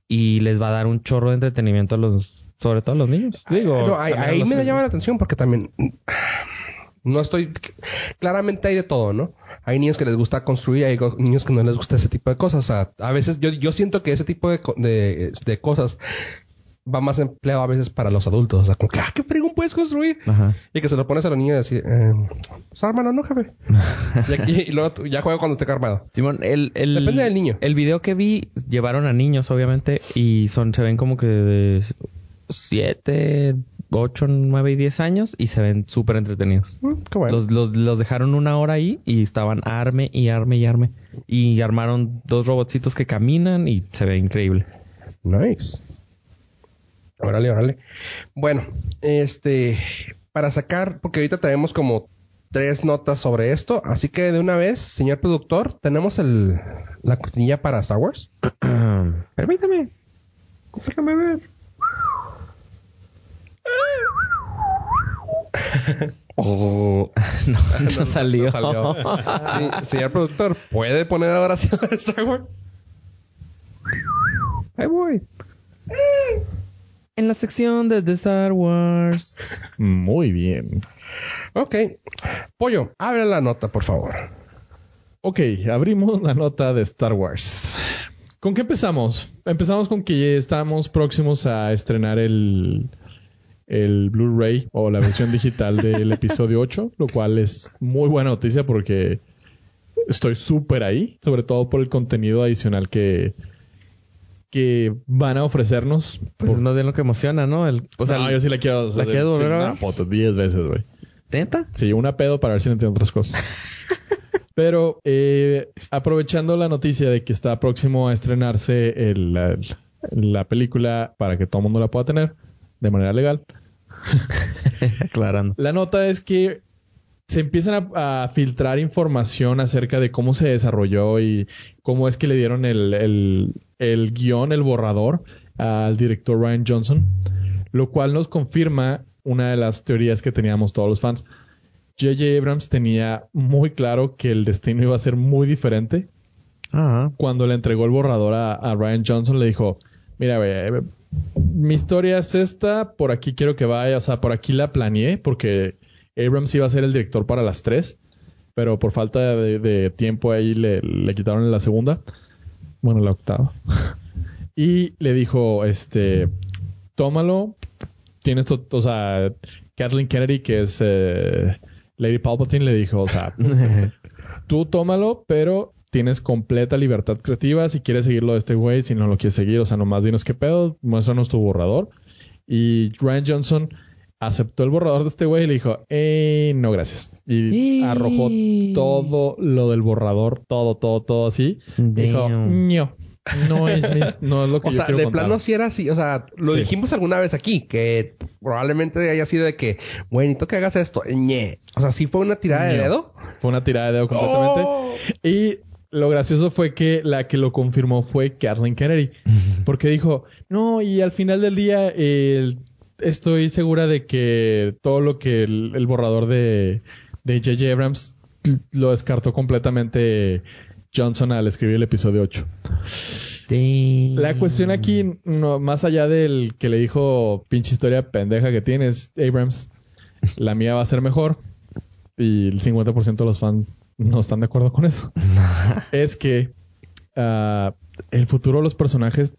Y les va a dar un chorro de entretenimiento a los, sobre todo a los niños. Digo,
No, ahí,
también a
ahí
los-
me llama la atención porque también mm, no estoy claramente hay de todo, ¿no? Hay niños que les gusta construir, hay go- niños que no les gusta ese tipo de cosas. O sea, a veces yo, yo siento que ese tipo de, co- de, de cosas va más empleado a veces para los adultos. O sea, como que, ah, qué fregón puedes construir.
Ajá.
Y que se lo pones a los niños y decir, eh, pues ármalo, ¿no, jefe? y, aquí- y luego tú- ya juego cuando esté armado.
Simón, el, el-
Depende del niño.
El video que vi llevaron a niños, obviamente, y son se ven como que de 7, 8, 9 y 10 años y se ven súper entretenidos.
Mm, qué bueno.
Los, los, los dejaron una hora ahí y estaban arme y arme y arme. Y armaron dos robotcitos que caminan y se ve increíble. [CLEARS THROAT]
Nice. Órale, órale. Bueno, este, para sacar, porque ahorita tenemos como tres notas sobre esto, así que de una vez, señor productor, tenemos el, la cortinilla para Star Wars.
Permítame. [LAUGHS]
Déjame ver.
Oh, [LAUGHS] no, no salió. [LAUGHS]
Salió. Sí, [LAUGHS] señor productor, ¿puede poner ahora sí [LAUGHS] la de Star Wars?
Ahí voy. En la sección de The Star Wars.
Muy bien.
Ok. Pollo, abre la nota, por favor.
Ok, abrimos la nota de Star Wars. ¿Con qué empezamos? Empezamos con que estamos próximos a estrenar el, el Blu-ray o la versión digital del episodio 8, lo cual es muy buena noticia porque estoy súper ahí, sobre todo por el contenido adicional que, que van a ofrecernos.
Pues es más bien lo que emociona, ¿no? El, o sea,
no, yo sí la quiero,
¿la quieres volver a
una
ver?
foto 10 veces, güey.
[LAUGHS] ¿Neta?
Sí, una pedo para ver si no entiendo otras
[LAUGHS]
cosas. Pero eh, aprovechando la noticia de que está próximo a estrenarse el- la, la película para que todo el mundo la pueda tener de manera legal,
Aclarando.
la nota es que se empiezan a, a filtrar información acerca de cómo se desarrolló y cómo es que le dieron el, el, el guión, el borrador al director Ryan Johnson, lo cual nos confirma una de las teorías que teníamos todos los fans. J.J. Abrams tenía muy claro que el destino iba a ser muy diferente
Ah,
cuando le entregó el borrador a, a Ryan Johnson, le dijo: Mira, güey, eh, mi historia es esta, por aquí quiero que vaya, o sea, por aquí la planeé, porque Abrams iba a ser el director para las tres, pero por falta de, de tiempo ahí le, le quitaron la segunda, bueno, la octava. y le dijo: Este, tómalo, tienes, to- o sea, Kathleen Kennedy, que es eh, Lady Palpatine, le dijo:
[LAUGHS]
O sea, tú tómalo, pero tienes completa libertad creativa. Si quieres seguirlo de este güey, si no lo quieres seguir, o sea, nomás dinos qué pedo, muéstranos tu borrador. Y Ryan Johnson aceptó el borrador de este güey y le dijo, eh, no gracias. Y
Sí.
arrojó todo lo del borrador, todo, todo, todo así. Dijo,
Damn.
no, no es, mi- no es lo
[LAUGHS]
que
O
yo
sea,
quiero
de
contar".
plano sí era así. O sea, lo
Sí.
dijimos alguna vez aquí, que probablemente haya siñe. sido de que, bueno, necesito que hagas esto. Ñe. O sea, sí fue una tirada de
Ñe.
dedo.
Fue una tirada de dedo completamente.
Oh.
Y lo gracioso fue que la que lo confirmó fue Kathleen Kennedy. Porque dijo, no, y al final del día eh, estoy segura de que todo lo que el, el borrador de de J.J. Abrams lo descartó completamente Johnson al escribir el episodio 8. La cuestión
Mm.
aquí, no, más allá del que le dijo pinche historia pendeja que tienes, Abrams, la mía va a ser mejor. Y el 50% de los fans no están de acuerdo con
[LAUGHS]
eso. es que ah, el futuro de los personajes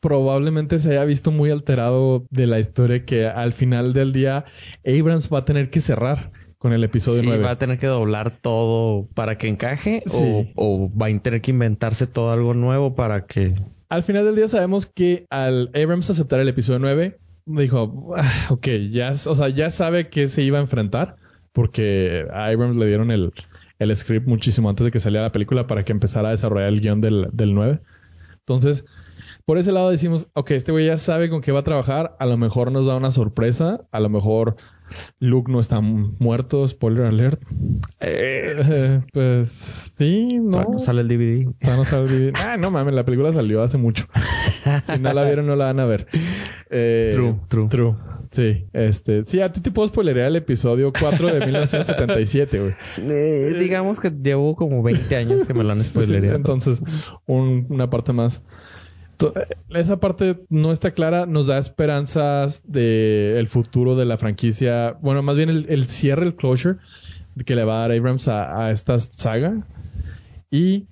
probablemente se haya visto muy alterado de la historia que al final del día Abrams va a tener que cerrar con el episodio
Sí,
9.
va a tener que doblar todo para que encaje
Sí.
o, o va a tener que inventarse todo algo nuevo para que...
Al final del día sabemos que al Abrams aceptar el episodio 9, dijo, "Ah, ok, ya, s- o sea, ya sabe que se iba a enfrentar, porque a Abrams le dieron el, el script muchísimo antes de que saliera la película para que empezara a desarrollar el guión del, del 9. Entonces, por ese lado decimos, ok, este güey ya sabe con qué va a trabajar, a lo mejor nos da una sorpresa, a lo mejor Luke no está mu- muerto, spoiler alert. Eh, [LAUGHS] pues sí, no.
Bueno, sale el DVD.
Todavía no sabe vivir. Ah, no mames, la película salió hace mucho. Si no la vieron, no la van a ver. Eh,
True, true.
True. Sí, este. Sí, a ti te puedo spoilerear el episodio 4 [LAUGHS] de 1977, güey.
Eh, digamos que llevo como 20 años que me lo
[LAUGHS]
han spoilereado.
Entonces, un- una parte más. To- eh, Esa parte no está clara, nos da esperanzas de el futuro de la franquicia. Bueno, más bien el, el cierre, el closure que le va a dar Abrams a, a esta saga. Y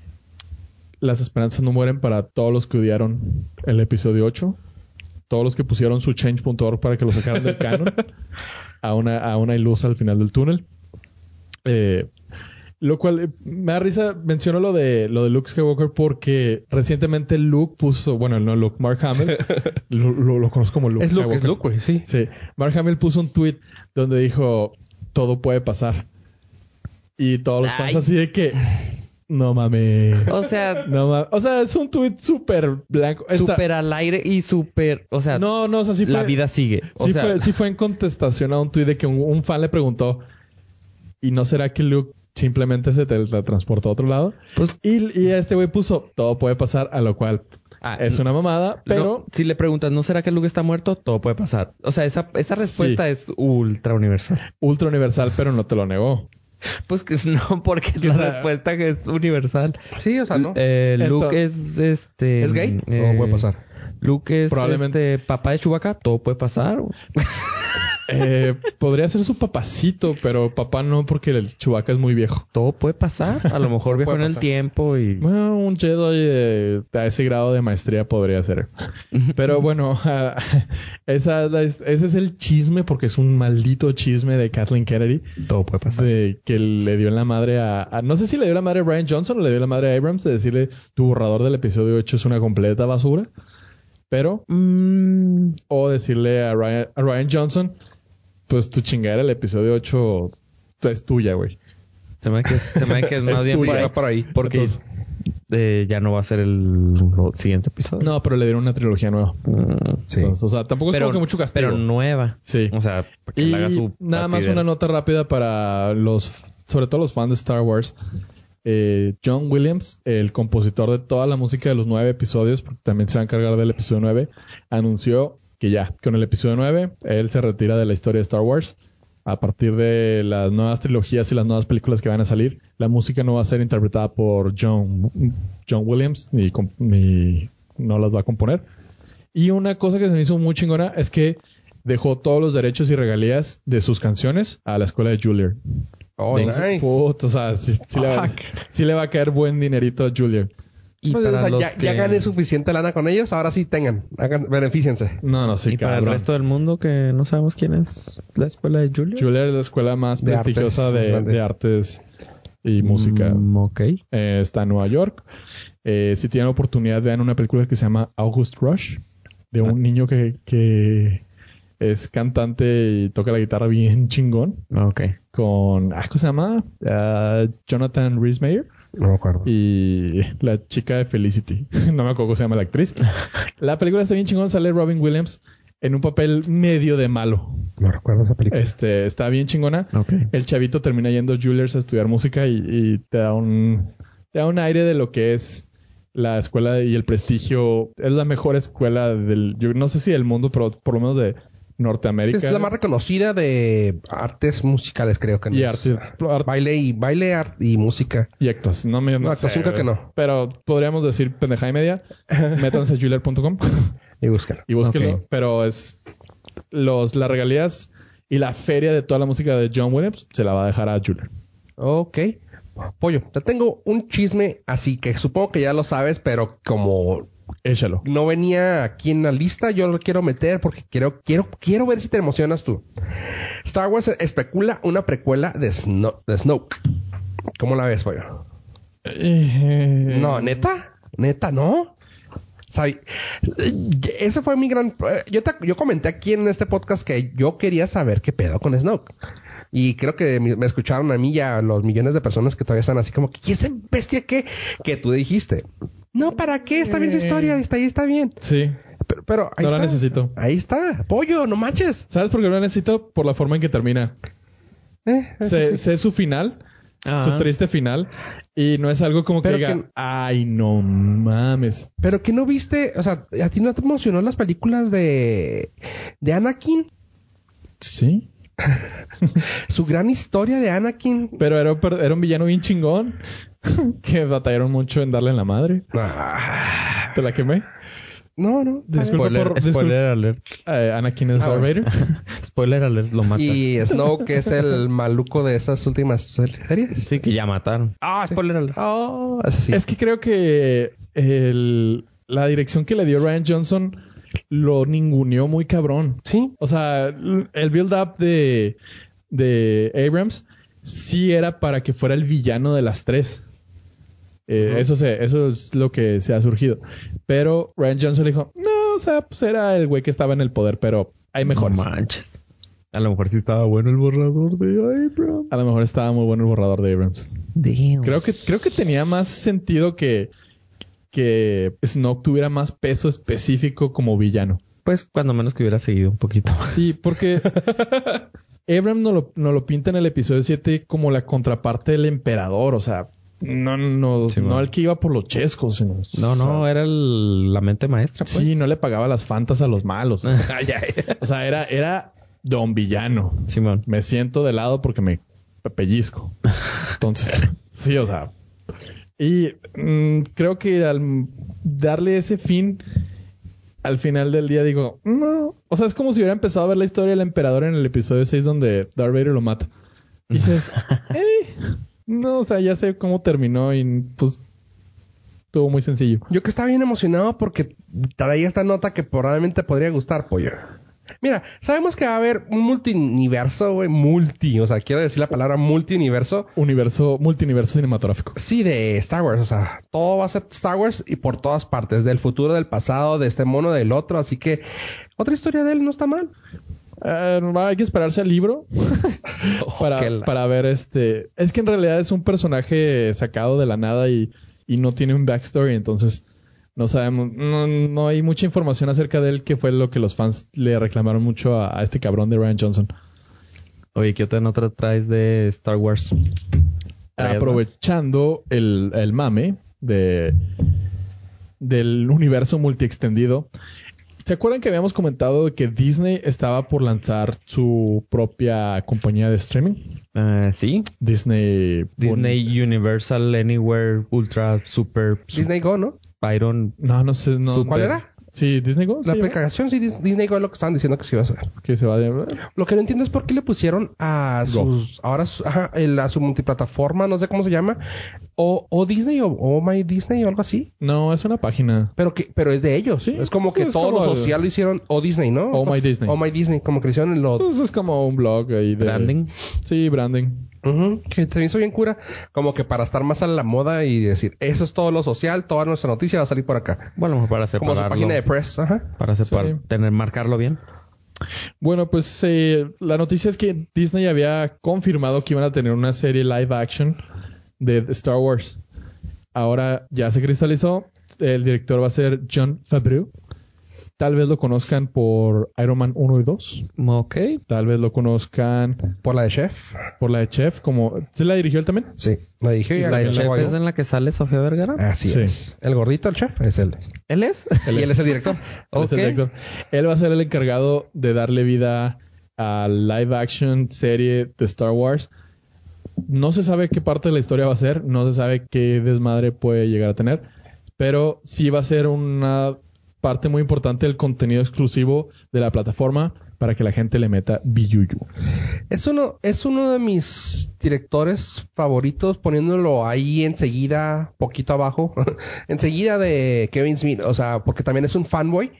las esperanzas no mueren para todos los que odiaron el episodio 8. Todos los que pusieron
[LAUGHS]
su change.org para que lo sacaran del canon. a, una, a una luz al final del túnel. Eh, lo cual eh, me da risa, menciono lo de lo de Luke Skywalker porque recientemente Luke puso, bueno, no Luke, Mark
[LAUGHS]
Hamill, lo, lo- lo conozco como Luke
Es Luke, es
Skywalker.
Luke, güey, sí.
Sí, Mark Hamill puso un tweet donde dijo, todo puede pasar. Y todos los fans
Ay.
así de que, no mames.
O sea,
No mames. O sea, es un tweet súper blanco. Está-
súper al aire y súper... O sea,
No, no, o sea, sí fue...
la vida sigue. O
sí,
sea,
fue, sí fue en contestación a un tweet de que un, un fan le preguntó, ¿y no será que Luke simplemente se teletransportó a otro lado?
pues...
Y, y este güey puso, todo puede pasar, a lo cual
ah,
es una mamada,
Pero
pero...
si le preguntas, ¿no será que Luke está muerto? Todo puede pasar. O sea, esa, esa respuesta
Sí.
es ultra universal.
Ultra universal, pero no te lo negó.
Pues que no, porque
O
la
sea-
respuesta que es universal.
Sí, o sea, ¿no?
Eh, Luke es este.
¿Es gay?
eh,
No, puede pasar.
Luke es
Probablemente.
este, papá de Chewbacca, todo puede pasar. [LAUGHS]
Eh, podría ser su papacito, pero papá no, porque el Chewbacca es muy viejo.
Todo puede pasar. A lo mejor viajó
puede
en el
pasar.
tiempo y.
Bueno, un Jedi de- a ese grado de maestría podría ser.
[LAUGHS]
Pero bueno, [LAUGHS] ah, esa, es la- ese es el chisme, porque es un maldito chisme de Kathleen Kennedy,
Todo puede pasar.
de que le dio en la madre a, a- No sé si le dio la madre a Brian Johnson o le dio la madre a Abrams, de decirle, tu borrador del episodio 8 es una completa basura. Pero,
Mm,
o decirle a Ryan, a Ryan Johnson, pues tu chingadera, el episodio 8 es tuya, güey.
se me hace que, se me hace que es más
Es
bien
tuya,
por ahí.
va por ahí.
Porque
Entonces-
eh, ya no va a ser el siguiente episodio.
No, pero le dieron una trilogía nueva.
Mm.
Sí.
Entonces, o sea, tampoco es como que mucho castigo.
pero nueva.
Sí.
O sea, para que
y
le haga su.
nada más
batidera.
una nota rápida para los, sobre todo los fans de Star Wars. Eh, John Williams, el compositor de toda la música de los nueve episodios, porque también se va a encargar del episodio 9, anunció que ya, con el episodio 9, él se retira de la historia de Star Wars. A partir de las nuevas trilogías y las nuevas películas que van a salir, la música no va a ser interpretada por John, John Williams, ni, com- ni no las va a componer. Y una cosa que se me hizo muy chingona es que dejó todos los derechos y regalías de sus canciones a la escuela de Juilliard.
Oh,
Entonces,
nice.
puto, o sea, sí, sí le va,
Fuck.
sí le va a caer buen dinerito a Juilliard.
Y
Pues, o
para
sea,
los
ya, ya
que-
gané suficiente lana con ellos, ahora sí tengan, hagan, beneficiense.
No, no, sí,
y para el
cabrón.
resto del mundo que no sabemos quién es la escuela de Julio.
Juilliard es la escuela más
De
prestigiosa
artes, más
de,
grande.
de artes y música.
Mm, ok.
Eh, está en Nueva York. Eh, si tienen oportunidad, vean una película que se llama August Rush, de un niño que, que es cantante y toca la guitarra bien chingón.
Ok.
con ah, ¿cómo se llama? Ah, Jonathan Rhys Meyer
No me acuerdo.
y la chica de Felicity. [LAUGHS] no me acuerdo cómo se llama la actriz. la película está bien chingón, sale Robin Williams en un papel medio de malo.
No recuerdo esa película.
Este, está bien chingona.
Ok.
El chavito termina yendo a Juilliard a estudiar música y, y te da un te da un aire de lo que es la escuela y el prestigio. Es la mejor escuela del yo no sé si del mundo, pero por lo menos de
Eh, Sí,
Norteamérica.
es la más reconocida de artes musicales, creo que no
y
es.
arte, arte-
Baile y baile ar- y música.
Y actos, no me no
No,
sé,
actuación creo
güey.
que no.
Pero podríamos decir pendeja
[LAUGHS]
y media. Métanse a julier.com
Y búscalo.
y búsquenlo.
Ok.
Pero es los las regalías y la feria de toda la música de John Williams se la va a dejar a Julier.
Ok. Pollo, te tengo un chisme así que supongo que ya lo sabes, pero como
Échalo.
no venía aquí en la lista, yo lo quiero meter porque quiero, quiero, quiero ver si te emocionas tú. Star Wars especula una precuela de, Sno- de Snoke. ¿Cómo la ves, pollo?
Eh.
No, neta, neta, no. Sabi- Ese fue mi gran. eh, Yo, te- yo comenté aquí en este podcast que yo quería saber qué pedo con Snoke. Y creo que me me escucharon a mí y a los millones de personas que todavía están así como, ¿y esa bestia qué? Que tú dijiste. No, ¿para qué? Está bien su historia, está ahí, está bien.
Sí.
Pero, pero ahí
No la
está.
necesito.
Ahí está. Pollo, no manches.
¿Sabes por qué no la necesito? Por la forma en
[LAUGHS]
que termina.
Eh, eso
Sé,
sí.
sé su final,
Ah.
su triste final. Y no es algo como que
Pero
diga,
que-
ay, no mames.
Pero que no viste, o sea, ¿a ti no te emocionó las películas de, de Anakin?
Sí.
Su gran historia de Anakin.
Pero era, un per- era un villano bien chingón [LAUGHS] que batallaron mucho en darle en la madre. Te la quemé.
Ah. No, no. está bien.
Disculpa
Spoiler,
por-
spoiler alert.
Eh, Anakin es
Ah,
Darth
bueno.
Vader.
[LAUGHS] Spoiler alert, lo matan.
Y Snow, que es el maluco de esas últimas sel- series.
Sí, que ya mataron. Ah, spoiler alert.
Oh, eso sí.
Es que creo que el- la dirección que le dio Ryan Johnson lo ninguneó muy cabrón.
Sí.
O sea, l- el build-up de, de Abrams sí era para que fuera el villano de las tres. Eh, eso, se, eso es lo que se ha surgido. Pero Ryan Johnson dijo, no, o sea, pues era el güey que estaba en el poder, pero hay mejores.
No manches.
A lo mejor sí estaba bueno el borrador de Abrams.
a lo mejor estaba muy bueno el borrador de Abrams.
Damn.
Creo que, creo que tenía más sentido que, que Snoke tuviera más peso específico como villano.
Pues cuando menos que hubiera seguido un poquito más.
Sí, porque [LAUGHS] Abrams nos lo, nos lo pinta en el episodio 7 como la contraparte del emperador, o sea, no, no,
Sí,
no
bueno.
al que iba por los chescos, sino...
[LAUGHS] No,
o sea,
no, era el- la mente maestra, pues.
Sí, no le pagaba las fantas a los [LAUGHS] malos.
Ah,
o sea, era, era don villano.
Simón.
Me siento de lado porque me pellizco. Entonces, sí, o sea. Y mm, creo que al darle ese fin, al final del día digo, no. O sea, es como si hubiera empezado a ver la historia del emperador en el episodio 6 donde Darth Vader lo mata. Y dices, "Eh, no, o sea, ya sé cómo terminó y pues estuvo muy sencillo.
Yo que estaba bien emocionado porque traía esta nota que probablemente podría gustar, pollo. Mira, sabemos que va a haber un multiverso, güey, multi, o sea, quiero decir la palabra multiverso.
Universo, multiverso cinematográfico.
Sí, de Star Wars, o sea, todo va a ser Star Wars y por todas partes, del futuro, del pasado, de este mono, del otro, así que otra historia de él no está mal.
Eh, va, hay que esperarse
[LAUGHS]
al libro
qué
para,
la-
para ver este. Es que en realidad es un personaje sacado de la nada y, y no tiene un backstory, entonces no sabemos, no, no hay mucha información acerca de él que fue lo que los fans le reclamaron mucho a, a este cabrón de Ryan Johnson.
Oye, ¿qué otra nota traes de Star Wars? ¿Traías más?
Aprovechando el, el mame de del universo multiextendido. ¿Se acuerdan que habíamos comentado que Disney estaba por lanzar su propia compañía de streaming?
Eh, sí.
Disney.
Disney Universal Anywhere Ultra Super Su-
Disney Go, ¿no?
Byron.
No, no sé. No,
¿Su cuál
de-
era?
Sí, Disney Go.
La
sí,
aplicación, sí, Dis- Disney Go es lo que estaban diciendo que se iba a hacer.
¿no? Que se va de.
Lo que no entiendo es por qué le pusieron a sus. Ahora su, ajá, el- a su multiplataforma, no sé cómo se llama. O, o Disney o, o My Disney o algo así.
No, es una página.
Pero que pero es de ellos.
Sí,
es como que
es
todo
como
lo
el-
social lo hicieron o Disney, ¿no?
Oh My Disney.
O My Disney, como que le hicieron lo.
Pues es como un blog ahí de.
Branding.
Sí, branding.
Ujú, que te hizo bien cura. Como que para estar más a la moda y decir, eso es todo lo social, toda nuestra noticia va a salir por acá.
Bueno, a lo mejor para
Como
separarlo.
su página de press. Ajá.
Para separar,
Sí.
tener, marcarlo bien.
Bueno, pues eh, la noticia es que Disney había confirmado que iban a tener una serie live action de Star Wars. Ahora ya se cristalizó. El director va a ser John Favreau. Tal vez lo conozcan por Iron Man 1 y 2.
Ok.
Tal vez lo conozcan
Por la de Chef.
por la de Chef. Como... ¿Se la dirigió él también?
Sí. La dije y
¿La
la
del chef
luego
es
yo.
en la que sale Sofía Vergara?
Así
Sí.
es. El gordito, el chef, es él.
¿Él
[LAUGHS]
es? [LAUGHS]
Y él es el director.
Él es el
Ok.
director. Él va a ser el encargado de darle vida a live action serie de Star Wars. No se sabe qué parte de la historia va a ser, no se sabe qué desmadre puede llegar a tener, pero sí va a ser una parte muy importante del contenido exclusivo de la plataforma para que la gente le meta billuyu.
Es uno, es uno de mis directores favoritos, poniéndolo ahí enseguida, poquito abajo, [LAUGHS] enseguida de Kevin Smith, o sea, porque también es un fanboy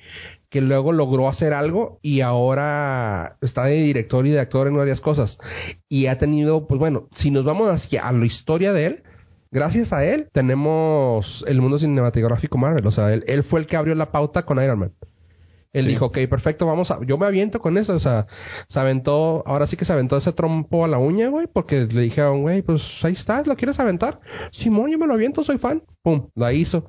que luego logró hacer algo y ahora está de director y de actor en varias cosas. Y ha tenido, pues bueno, si nos vamos hacia a la historia de él, gracias a él tenemos el mundo cinematográfico Marvel, o sea, él, él fue el que abrió la pauta con Iron Man. Él dijo, ok, perfecto, vamos a... Yo me aviento con eso, o sea, se aventó... Ahora sí que se aventó ese trompo a la uña, güey, porque le dijeron, güey, pues ahí está, ¿lo quieres aventar? Simón, yo me lo aviento, soy fan. Pum, la hizo.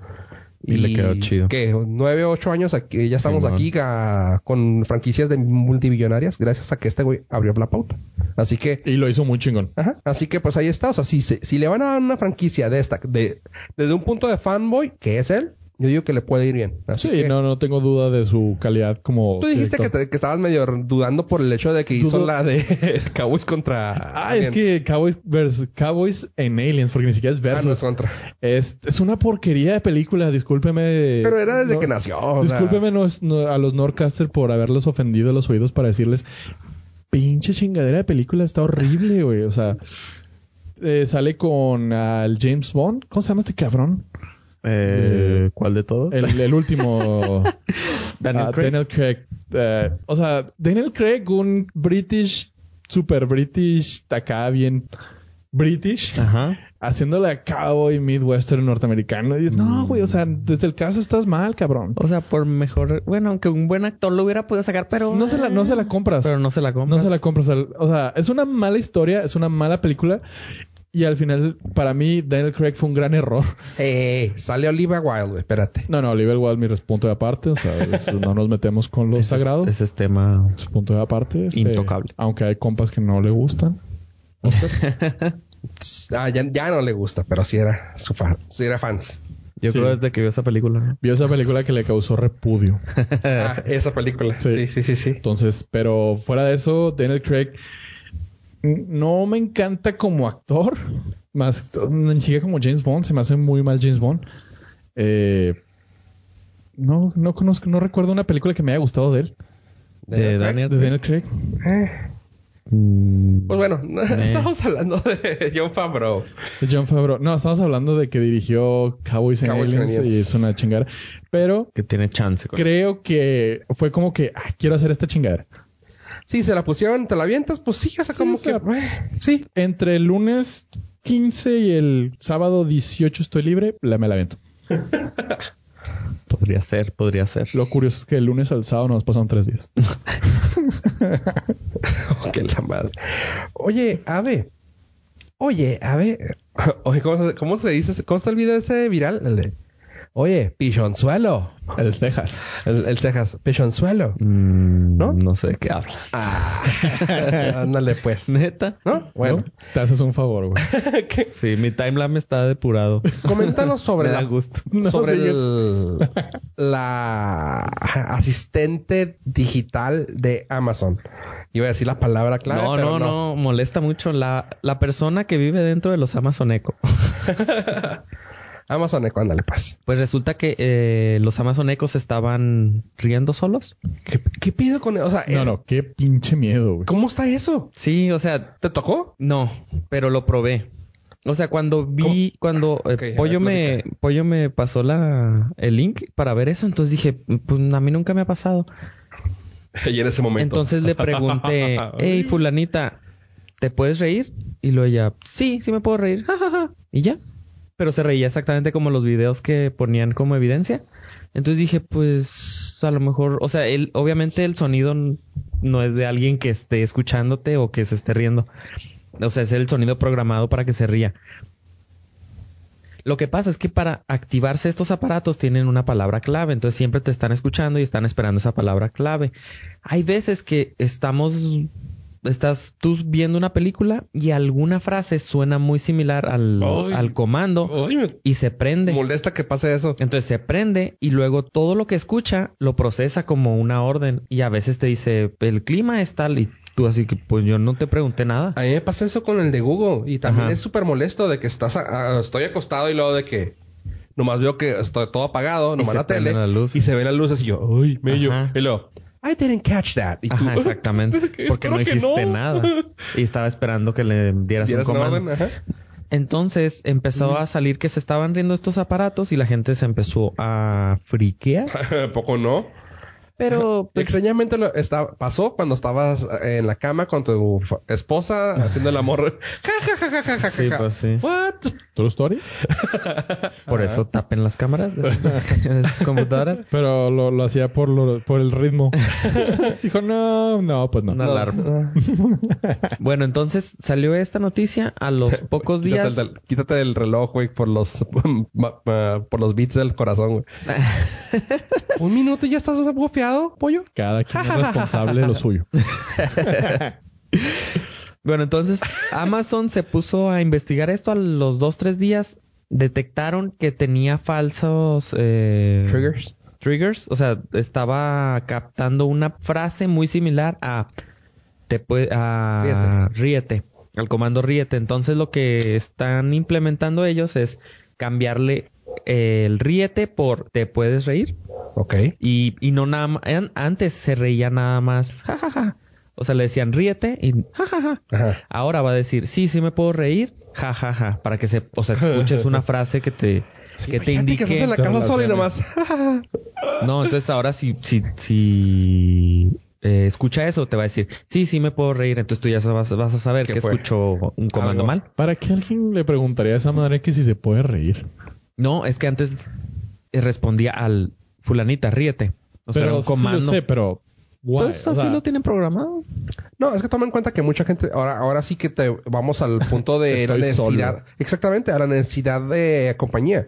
Y le quedó chido.
Que nueve, ocho años aquí, ya estamos
Simón.
aquí a- con franquicias de multibillonarias gracias a que este güey abrió la pauta. Así que...
Y lo hizo muy chingón.
Ajá. Así que pues ahí está. O sea, si, se- si le van a dar una franquicia de esta, de, desde un punto de fanboy, que es él, yo digo que le puede ir bien. Así
Sí,
que-
no, no tengo duda de su calidad como.
Tú dijiste que,
director.
te- que estabas medio dudando por el hecho de que hizo
Pues Dudo.
la de [LAUGHS] Cowboys contra.
Ah, es que Cowboys, versus, Cowboys en Aliens, porque ni siquiera es
Ah, no,
versus. eh,
es contra.
Es, es una porquería de película, discúlpeme.
Pero era desde
No-
que nació. o sea.
discúlpeme no es- no- a los Norcaster por haberlos ofendido a los oídos para decirles, pinche chingadera de película, está horrible, güey. O sea, eh, sale con ah, el James Bond. ¿Cómo se llama este cabrón?
Eh, ¿Cuál de todos?
El,
[LAUGHS]
el último.
Daniel
Ah,
Craig.
Daniel Craig. Eh, o sea, Daniel Craig, un British, super British, acá bien British [LAUGHS]
Ajá.
haciéndole a cowboy midwestern norteamericano. Y dices, no, güey, o sea, desde el caso estás mal, cabrón.
O sea, por mejor... Bueno, aunque un buen actor lo hubiera podido sacar, pero...
No se la, no se la compras.
Pero no se la compra.
No se la compras. al- O sea, es una mala historia, es una mala película. Y al final, para mí, Daniel Craig fue un gran error.
Eh, sale Oliva Wilde, güey, espérate.
No, no, Oliver Wilde, mi punto de aparte. O sea, es- no nos metemos con lo sagrado.
Ese es tema...
Es punto de aparte. este,
Intocable.
Aunque hay compas que no le gustan.
Ah, ya, ya no le gusta, pero sí era su fan, sí era fans.
Yo
Sí.
creo desde que vio esa película. [LAUGHS] ¿no?
Vio esa película que le causó repudio.
Ah, esa película.
Eh.
Sí,
Sí.
sí, sí, sí.
Entonces, pero fuera de eso, Daniel Craig n- no me encanta como actor, más ni siquiera como James Bond, se me hace muy mal James Bond. Eh, no, no conozco, no recuerdo una película que me haya gustado de él,
De
de
Daniel. Mm,
Daniel Craig.
Eh, Pues bueno, [LAUGHS] estamos hablando de John Favreau.
De John Favreau. No, estamos hablando de que dirigió Cowboys and
Cowboys and
Aliens y
Aliens.
es una chingada. Pero
Que tiene chance. con-
creo que fue como que, ah, quiero hacer esta chingada.
Sí, se la pusieron, te la avientas, pues sí, o sea,
Sí,
como
o sea,
que. eh, sí.
Entre el lunes 15 y el sábado 18 estoy libre, la me la avento.
Podría ser, podría ser.
Lo curioso es que el lunes al sábado nos pasaron
[LAUGHS]
tres días.
Ok, la madre. Oye, Ave. Oye, Ave. [LAUGHS] Oye, ¿cómo, se- cómo se dice? ¿Cómo está el video ese viral? El de, Oye, pichonzuelo.
El Texas.
El, el cejas, pichonzuelo.
Mm,
¿No?
¿No? sé de qué habla.
Ah, [LAUGHS] ándale,
[LAUGHS]
pues.
Neta.
¿No? Bueno,
Te haces un
[LAUGHS]
favor, güey.
Sí, mi timeline está [LAUGHS] depurado.
coméntanos sobre
Me da
la, [LAUGHS]
gusto.
sobre
No
el- la asistente digital de Amazon. Iba a decir la palabra clave,
no, no,
pero
no, Molesta mucho la, la persona que vive dentro de los Amazon Echo.
Amazon Echo, ándale, pues.
Pues resulta que eh, los Amazon Echo se estaban riendo solos.
¿Qué, qué pido con O sea,
No,
es-
no, qué pinche miedo, güey.
¿cómo está eso?
Sí, o sea,
¿Te tocó?
no, pero lo probé. O sea, cuando vi, cuando eh,
Ok, a ver,
Pollo me Pollo me pasó la el link para ver eso, entonces dije, pues a mí nunca me ha pasado.
Y en ese momento.
Entonces le
[LAUGHS]
pregunté, hey, fulanita, ¿te puedes reír? Y luego ella, sí, sí me puedo reír. [LAUGHS] ja, ja, ja". y ya. Pero se reía exactamente como los videos que ponían como evidencia. Entonces dije, pues a lo mejor, o sea, él, obviamente el sonido n- no es de alguien que esté escuchándote o que se esté riendo. O sea, es el sonido programado para que se ría. Lo que pasa es que para activarse estos aparatos tienen una palabra clave, entonces siempre te están escuchando y están esperando esa palabra clave. Hay veces que estamos, estás tú viendo una película y alguna frase suena muy similar al,
Ay.
al comando
Ay, me
y se prende.
molesta que pase eso.
Entonces se prende y luego todo lo que escucha lo procesa como una orden y a veces te dice el clima es tal y tú así que pues yo no te pregunté nada.
A mí me pasa eso con el de Google y también
Ajá.
es súper molesto de que estás a- a- estoy acostado y luego de que nomás veo que estoy todo apagado, nomás
se
la tele
prenden las luces.
y se ven las luces y yo, uy, mello,
Ajá.
y luego, I didn't catch that. Y tú, [LAUGHS]
Ajá, exactamente. Porque
Espero
no
que
dijiste
no. [LAUGHS]
nada. Y estaba esperando que le dieras un
¿Dieras una
comando.
orden? Ajá. [LAUGHS]
Entonces empezó a salir que se estaban riendo estos aparatos y la gente se empezó a friquear.
Poco no.
Pero pues,
Extrañamente lo está- pasó cuando estabas eh, en la cama con tu fa-
[LAUGHS]
esposa haciendo el amor. Ja, ja, ja, ja, ja, ja,
Sí,
ja.
pues, sí.
What?
True story.
por eso tapen las
[LAUGHS]
cámaras de de sus computadoras.
Pero lo, lo hacía por, lo- por
[LAUGHS]
el ritmo. Dijo, no, no, pues no.
Una alarma. [LAUGHS] bueno, entonces salió esta noticia a
[LAUGHS]
los pocos días.
Quítate, el, quítate el reloj, güey, por los [LAUGHS] ma- ma- por los beats del
[LAUGHS]
corazón, güey. Un minuto y ya estás bofeado, pollo.
Cada quien es responsable de
[LAUGHS]
lo suyo.
Bueno, entonces Amazon se puso a investigar esto a los dos, tres días. Detectaron que tenía falsos... eh,
Triggers.
Triggers. O sea, estaba captando una frase muy similar a... Te pue- a ríete. Al comando ríete. Entonces lo que están implementando ellos es cambiarle el ríete por te puedes reír.
Ok.
Y, y no nada más... Antes se reía nada más... "Ja, ja, ja". O sea, le decían ríete y... "Ja, ja, ja".
Ajá.
Ahora va a decir, sí, sí me puedo reír, ja, ja, ja, para que se, o sea, escuches [LAUGHS] una frase que te, que te
Fíjate
indique.
que estás en la cama solo y nomás.
No, entonces ahora si, si, si eh, escucha eso, te va a decir, sí, sí me puedo reír. Entonces tú ya sabes- vas, a saber
¿Qué
que
fue?
escuchó un comando
Algo.
mal.
¿Para qué alguien le preguntaría a esa madre que si se puede reír?
No, es que antes eh, respondía al fulanita, ríete. O sea, era
pero
un
sí lo
comando.
sé, pero... guay,
Entonces
o
así
sea,
lo tienen programado.
No, es que toma en cuenta que mucha gente, ahora, ahora sí que te vamos
[LAUGHS]
al punto de la
Estoy
necesidad,
solo.
exactamente, a la necesidad de compañía.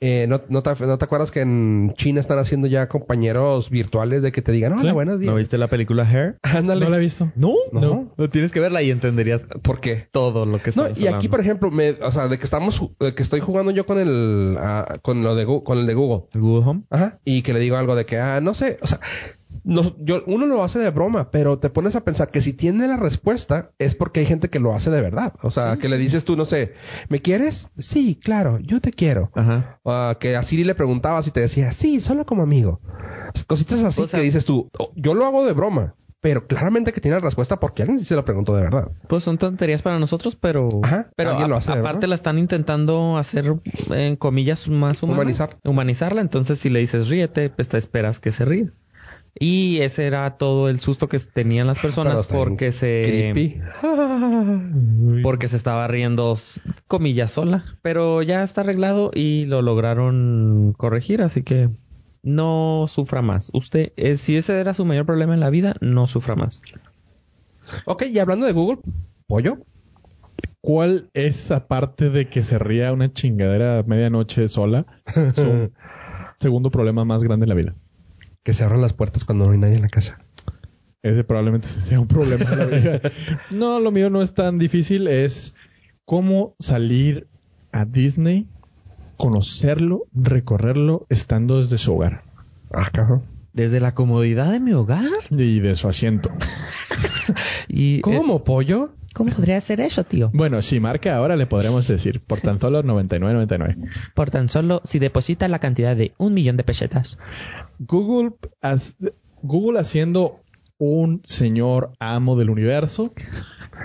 Eh, no, no, te, no te acuerdas que en China están haciendo ya compañeros virtuales de que te digan, hola,
Sí.
buenos días?
¿No viste la película Hair?
Ándale.
No la he visto.
No,
No.
Tienes que verla y entenderías
¿Por qué?
todo lo que
No,
estamos
y aquí,
hablando.
por ejemplo, me, o sea, de que estamos, ju- de que estoy jugando yo con el, ah, con lo de, Gu- con el de Google.
¿El Google Home?
Ajá. Y que le digo algo de que, ah, no sé, o sea, no- yo, uno lo hace de broma, pero te pones a pensar que si tiene la respuesta es porque hay gente que lo hace de verdad. O sea, que le dices tú, no sé, ¿me quieres? Sí, claro, yo te quiero.
Ajá.
Ah, que a Siri le preguntabas y te decía, sí, solo como amigo. Cositas así
O sea-
que dices tú, "Oh, yo lo hago de broma, pero claramente que tiene la respuesta porque alguien sí se lo preguntó de verdad.
Pues son tonterías para nosotros, pero...
Ajá,
Pero
alguien
a-
lo hace, ¿verdad?
aparte la están intentando hacer, en comillas, más humana.
Humanizar.
Humanizarla. Entonces, si le dices ríete, pues te esperas que se ríe. Y ese era todo el susto que tenían las
Pero
personas
está bien
porque se...
Creepy.
[LAUGHS]
Porque se estaba riendo, s- comillas, sola. Pero ya está arreglado y lo lograron corregir, así que... No sufra más. Usted, eh, si ese era su mayor problema en la vida, no sufra más.
Ok, y hablando de Google, pollo.
¿Cuál es, aparte de que se ría una chingadera a medianoche sola, su segundo problema más grande en la vida?
Que se abran las puertas cuando no hay nadie en la casa.
Ese probablemente sí sea un problema de la vida. No, lo mío no es tan difícil. Es cómo salir a Disney, conocerlo, recorrerlo, estando desde su hogar
Ah, cabrón.
Desde la comodidad de mi hogar.
y de su asiento.
Y, eh,
¿Cómo, pollo?
¿Cómo podría hacer eso, tío?
Bueno, si marca ahora le podremos decir, por tan solo 99.99.
Por tan solo si deposita la cantidad de un millón de pesetas.
Google, as- Google haciendo un señor amo del universo,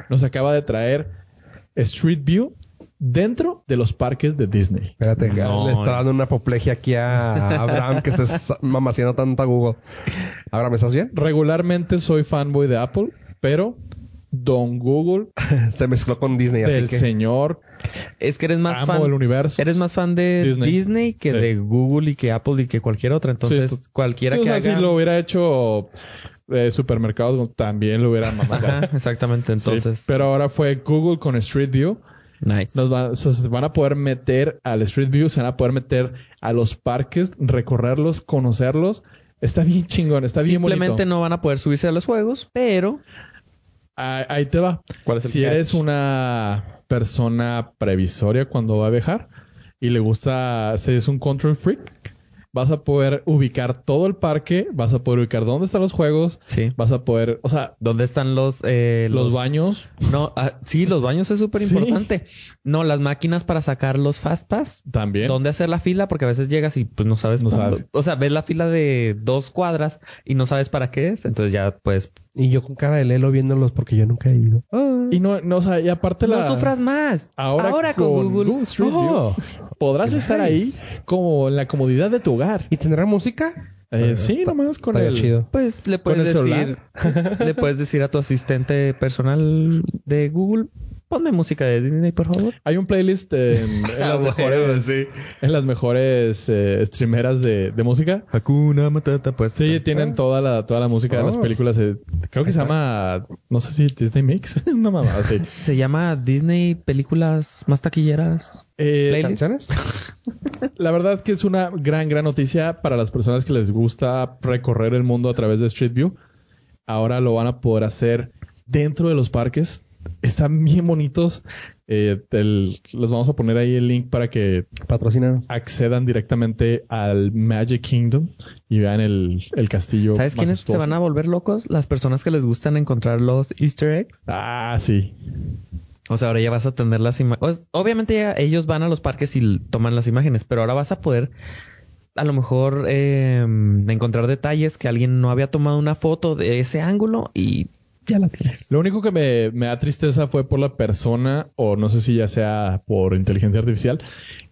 nos acaba de traer Street View dentro de los parques de Disney.
Espérate,
No,
le está
es-
dando una apoplejía aquí a Abraham que estés mamaciendo tanto a Google. Abraham, ¿estás bien?
Regularmente soy fanboy de Apple, pero Don Google,
Se mezcló con Disney, así
del
que...
señor
Es que eres más
amo
fan.
del universo.
Eres más fan de
Disney.
Disney, que
Sí.
de Google y que Apple y que cualquier otra. Entonces,
Sí, tú-
cualquiera
Sí, o
que
sea,
haga...
si lo hubiera hecho eh, supermercados, también lo hubiera
Ajá,
mamado.
exactamente.
Sí,
Entonces,
pero ahora fue Google con Street View.
nice.
Nos va- se se van a poder meter al Street View, se van a poder meter a los parques, recorrerlos, conocerlos. Está bien chingón, está bien
Simplemente
bonito.
no van a poder subirse a los juegos, pero
Ah, Ahí te va.
¿Cuál es el
si
catch?
eres una persona previsoria cuando va a viajar y le gusta, si es un control freak, vas a poder ubicar todo el parque, vas a poder ubicar dónde están los juegos,
sí.
vas a poder, o sea,
¿Dónde están los eh,
los, baños.
No, ah, sí, los baños es súper importante. No, las máquinas para sacar los fastpass.
También.
dónde hacer la fila porque a veces llegas y pues no sabes,
No
cuándo.
sabes.
o sea ves la fila de dos cuadras y no sabes para qué es entonces ya pues
Y yo con cara de lelo viéndolos porque yo nunca he ido.
Y no, no, o sea, y aparte la...
no sufras más ahora,
Ahora,
con, Google,
Street View,
Oh.
podrás estar ahí como en la comodidad de tu hogar.
¿Y tendrá música?
Eh, sí, nomás con
Está
el...
chido.
pues le puedes
el
decir [LAUGHS] le puedes decir a tu asistente personal de Google ponme música de Disney por favor
Hay un playlist en, [LAUGHS] en las mejores, en las mejores eh, streameras de, de música.
Hakuna Matata pues
Sí, tienen toda la, toda la música de las
Oh.
películas. eh, creo que se llama, no sé si Disney Mix, [LAUGHS] una mamada así.
se llama Disney películas más taquilleras
Eh,
Playlist.
¿Canciones?
La verdad es que es una gran, gran noticia para las personas que les gusta recorrer el mundo a través de Street View. Ahora lo van a poder hacer dentro de los parques. Están bien bonitos. Eh, el- les vamos a poner ahí el link para que
Patrocínanos.
accedan directamente al Magic Kingdom y vean el, el castillo.
¿Sabes quiénes se van a volver locos? Las personas que les gustan encontrar los Easter eggs.
Ah, sí.
O sea, ahora ya vas a tener las imágenes. Obviamente ya ellos van a los parques y l- toman las imágenes, pero ahora vas a poder a lo mejor eh, encontrar detalles que alguien no había tomado una foto de ese ángulo y ya la tienes.
Lo único que me, me da tristeza fue por la persona, o no sé si ya sea por inteligencia artificial,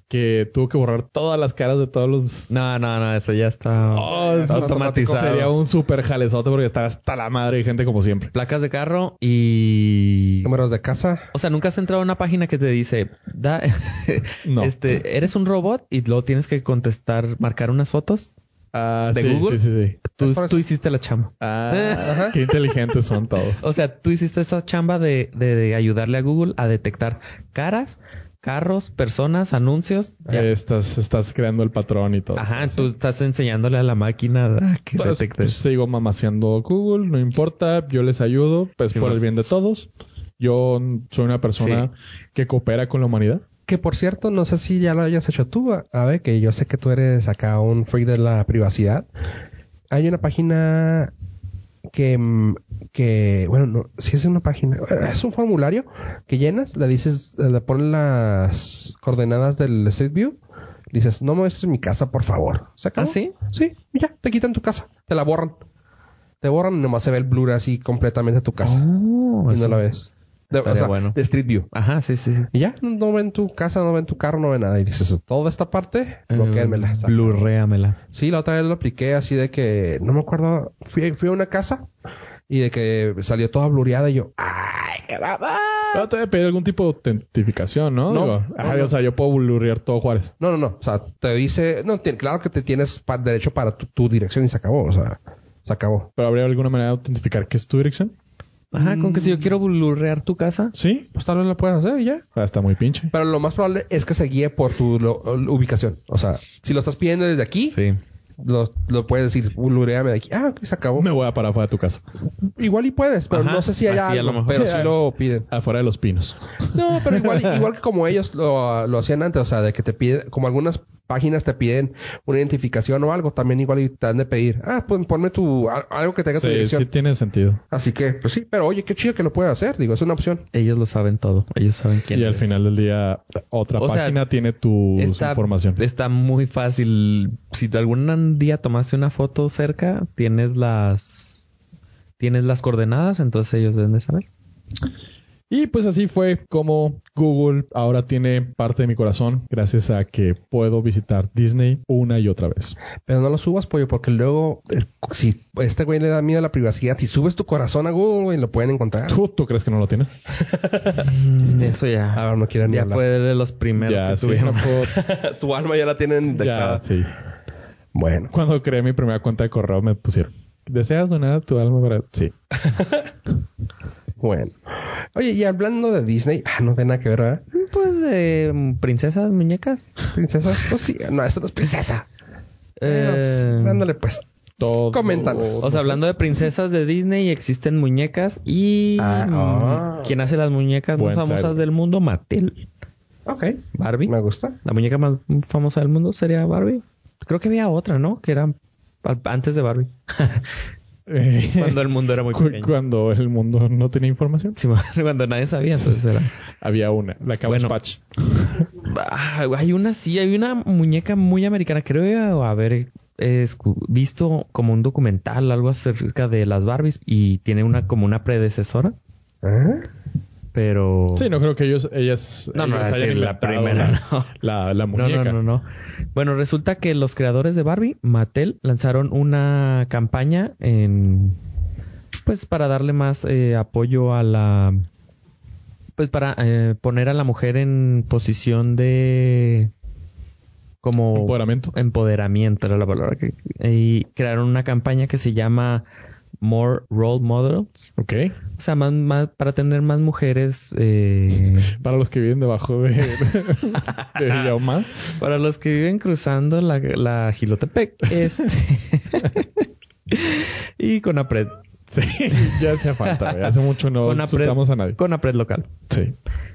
que tuvo que borrar todas las caras de todos los...
No, no, no, eso ya está
Oh, eso
automatizado.
Sería un súper jalezote porque estaba hasta la madre de gente como siempre.
Placas de carro y...
Números de casa.
O sea, nunca has entrado a una página que te dice, da, [LAUGHS]
No.
este, eres un robot y luego tienes que contestar, marcar unas fotos.
Ah,
¿De
sí,
Google?
Sí, sí, sí.
Tú,
Es por eso.
tú hiciste la chamba.
[LAUGHS] Ah, qué inteligentes son [LAUGHS] todos.
O sea, tú hiciste esa chamba de, de- de ayudarle a Google a detectar caras, carros, personas, anuncios.
Ah,
Ya.
Estás, estás creando el patrón y todo.
Ajá, tú estás enseñándole a la máquina a que
Pues,
detecte.
pues, sigo mamaseando Google, no importa, yo les ayudo, pues por
bueno.
el bien de todos. Yo soy una persona que coopera con la humanidad.
Que por cierto, no sé si ya lo hayas hecho tú, a ver, que yo sé que tú eres acá un freak de la privacidad. Hay una página que, mm, que bueno, no, si es una página, eh, es un formulario que llenas, le dices, le pones las coordenadas del Street View, le dices, no muestres mi casa, por favor. ¿Se acabó?
¿Ah, sí?
Sí, y ya, te quitan tu casa, te la borran. Te borran y nomás se ve el blur así completamente tu casa.
Oh,
y no
eso.
la Eh, ves. De, o
estaría
sea,
bueno.
de Street View.
Ajá, sí, sí. sí.
Y ya, no ven tu casa, no ven tu carro, no ven nada. Y dices, toda esta parte, bloqueármela.
Eh, blurréamela.
Sí, la otra vez lo apliqué así de que, no me acuerdo, fui, fui a una casa y de que salió toda blureada y yo, ¡ay, qué baba!
Pero te voy a pedir algún tipo de autentificación, ¿no?
No,
Digo,
no,
ajá,
no.
O sea, yo puedo blurrear todo Juárez.
No, no, no. O sea, te dice, no, ti- claro que te tienes pa- derecho para tu, tu dirección y se acabó. O sea, se acabó.
Pero habría alguna manera de autentificar que es tu dirección.
Ajá, con que si yo quiero blurrear tu casa.
Sí.
Pues tal vez lo puedes hacer y ya.
Ah, Está muy pinche.
Pero lo más probable es que se guíe por tu lo- ubicación. O sea, si lo estás pidiendo desde aquí,
Sí.
lo, lo puedes decir, blureame de aquí. Ah, ok, se acabó.
Me voy a parar afuera de tu casa.
Igual y puedes, pero
Ajá,
no sé si hay
así a lo
algo,
mejor.
pero
Sí,
sí
hay.
lo piden.
Afuera de los pinos.
[LAUGHS] No, pero igual, igual que como ellos lo, lo hacían antes, o sea, de que te piden, como algunas páginas te piden una identificación o algo, también igual y te han de pedir, ah, pues ponme tu, a- algo que tenga tu
Sí,
dirección.
sí tiene sentido.
Así que, pues sí, pero oye, qué chido que lo puede hacer, digo, es una opción.
Ellos lo saben todo. Ellos saben quién
Y al
eres.
final del día, otra
O sea,
página tiene tu
Está,
información.
está muy fácil. Si algún día tomaste una foto cerca, tienes las tienes las coordenadas, entonces ellos deben de saber.
Y pues así fue como Google ahora tiene parte de mi corazón gracias a que puedo visitar Disney una y otra vez.
Pero no lo subas, pollo, porque luego, el- si este güey le da miedo a la privacidad, si subes tu corazón a Google, güey, lo pueden encontrar.
¿Tú, tú crees que no lo tiene?
Ah,
Mm.
Eso ya.
Ahora no quieren ni
ya
hablar.
fue de los primeros
ya,
que
sí. [LAUGHS]
tuvieron.
tu alma ya la tienen
ya,
indexada.
sí.
Bueno.
Cuando creé mi primera cuenta de correo me pusieron. ¿Deseas donar tu alma para...? Sí.
Bueno. Oye, y hablando de Disney, ah, no tiene nada que ver, ¿verdad?
Pues de princesas, muñecas.
¿Princesa? Pues sí, no, esta no es princesa.
Eh,
Pero, Dándole pues.
Todo.
Coméntanos.
[LAUGHS]
o sea, hablando de princesas de Disney, existen muñecas y
Ah,
mm,
ah.
quien hace las muñecas más
Buen
famosas
saber.
del mundo, Mattel,
Ok.
Barbie.
Me gusta.
La muñeca más famosa del mundo sería Barbie. Creo que había otra, ¿no? Que era al- antes de Barbie. [LAUGHS]
Eh,
Cuando el mundo era muy
cu-
pequeño.
cuando el mundo no tenía información.
Sí, [LAUGHS] Cuando nadie sabía, entonces era.
Había una. La Cabbage
Bueno.
Patch.
Ah, Hay una, sí, hay una muñeca muy americana. Creo haber eh, escu- visto como un documental, algo acerca de las Barbies y tiene una como una predecesora,
Ah,
pero.
Sí, no creo que ellos... Ellas...
No, no,
ellos
es
hayan
decir, la
inventado
primera,
la-
no.
La, la
No,
muñeca.
no, no, no. Bueno, resulta que los creadores de Barbie, Mattel, lanzaron una campaña en pues para darle más eh, apoyo a la pues para eh, poner a la mujer en posición de como
Empoderamiento.
empoderamiento era la palabra que y crearon una campaña que se llama More Role Models,
Ok.
o sea, más, más- para tener más mujeres eh,
Para los que viven debajo de... [LAUGHS]
[LAUGHS]
de Yauma.
Para los que viven cruzando la, la Gilotepec, este. y con APRED.
Sí, ya hacía falta. güey. Hace mucho no
con APRED-
insultamos a nadie.
Con APRED local.
Sí.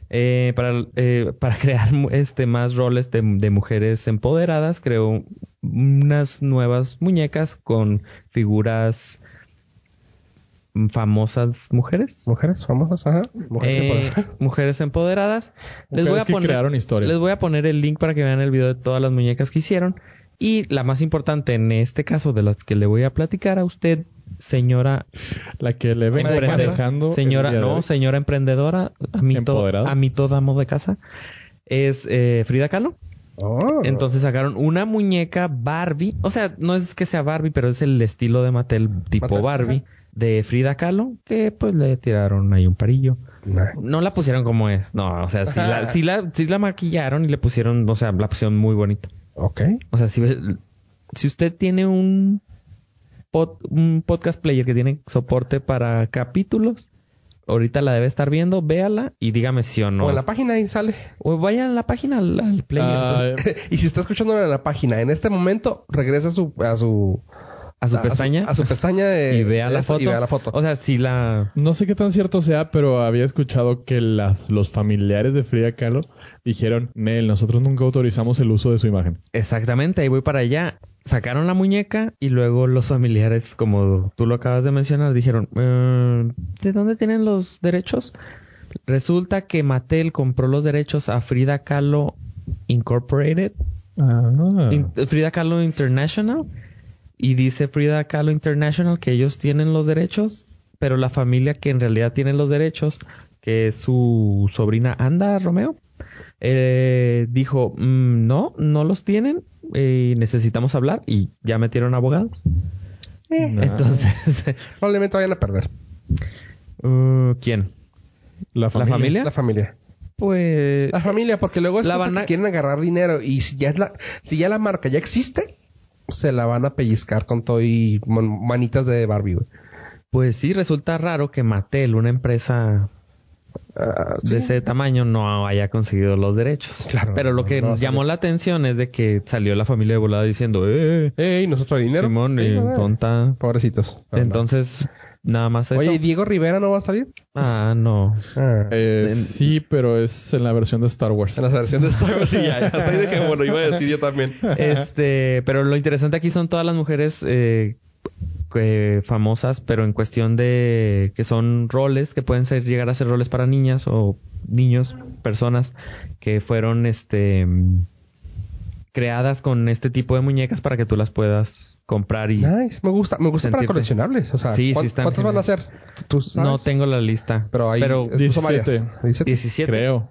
Eh, para, eh, para [LAUGHS] crear mu- este, más roles de, de mujeres empoderadas, creó unas nuevas muñecas con figuras mm, famosas mujeres.
Mujeres famosas, ajá. Mujeres
Eh,
empoderadas.
mujeres empoderadas. les
Mujeres
voy a
que
poner,
crearon historia.
Les voy a poner el link para que vean el video de todas las muñecas que hicieron. Y la más importante en este caso de las que le voy a platicar a usted, señora
La que le ven
Emprendedora.
manejando. el
señora,
día de
no,
hoy.
señora emprendedora, a mí, to-
Empoderada.
a mí todo amo de casa, es eh, Frida Kahlo.
Oh.
Entonces sacaron una muñeca Barbie. O sea, no es que sea Barbie, pero es el estilo de Mattel tipo
Mattel,
Barbie. De Frida Kahlo, que pues le tiraron ahí un parillo.
Nah.
No la pusieron como es. No, o sea, sí la, sí la, sí la maquillaron y le pusieron, o sea, la pusieron muy bonita.
Ok.
O sea, si, si usted tiene un, pod- un podcast player que tiene soporte para capítulos, ahorita la debe estar viendo, véala y dígame sí o no.
O en la página ahí sale. [LAUGHS]
O vaya a la página, al, al player, pues,
Ah,
y si está escuchando en la página, en este momento regresa a su a su
pues, a su pestaña.
a su pestaña
[LAUGHS]
de-
y vea
de
la
esto
foto.
y vea la foto.
O sea, si la...
no sé qué tan cierto sea, pero había escuchado que las- los familiares de Frida Kahlo dijeron, Nel, nosotros nunca autorizamos el uso de su imagen.
Exactamente, ahí voy para allá. Sacaron la muñeca y luego los familiares, como tú lo acabas de mencionar, dijeron, "Eh, ¿de dónde tienen los derechos? Resulta que Mattel compró los derechos a Frida Kahlo Incorporated,
Ah.
In- Frida Kahlo International, y dice Frida Kahlo International que ellos tienen los derechos, pero la familia que en realidad tiene los derechos, que es su sobrina Anda Romeo, eh, dijo, "Mm, no, no los tienen, eh, necesitamos hablar y ya metieron abogados. Entonces, [LAUGHS]
Probablemente vayan a perder.
uh, ¿quién?
La
¿La
familia.
familia?
La familia.
Pues...
La familia, porque luego es
La
cosa
van a-
que quieren agarrar dinero y si ya es la si ya la marca ya existe, se la van a pellizcar con todo y mon- manitas de Barbie. güey.
Pues sí, resulta raro que Mattel, una empresa
Ah, sí.
de ese tamaño, no haya conseguido los derechos.
Claro,
Pero lo
no,
que
no va a
llamó
salir.
la atención es de que salió la familia de volada diciendo, eh,
Ey, nosotros dinero.
Simón,
Ey,
eh,
no, eh.
tonta.
Pobrecitos. No, no.
Entonces, nada más eso.
Oye, ¿y Diego Rivera no va a salir?
ah, no.
Ah.
Eh,
En-
Sí, pero es en la versión de Star Wars.
En la versión de Star Wars, sí, ya, ya estoy de que, bueno, iba a decir yo también.
Este, pero lo interesante aquí son todas las mujeres eh, que- famosas, pero en cuestión de que son roles, que pueden ser llegar a ser roles para niñas o niños, personas que fueron este mm, creadas con este tipo de muñecas para que tú las puedas comprar y
Nice, me gusta, me gusta para
Sentirte.
coleccionables, o sea,
Sí, sí
¿cuán-
están
¿cuántos van a ser? ¿Tú sabes?
no tengo la lista,
pero hay
pero
es- son
17.
varias. 17.
17.
Creo.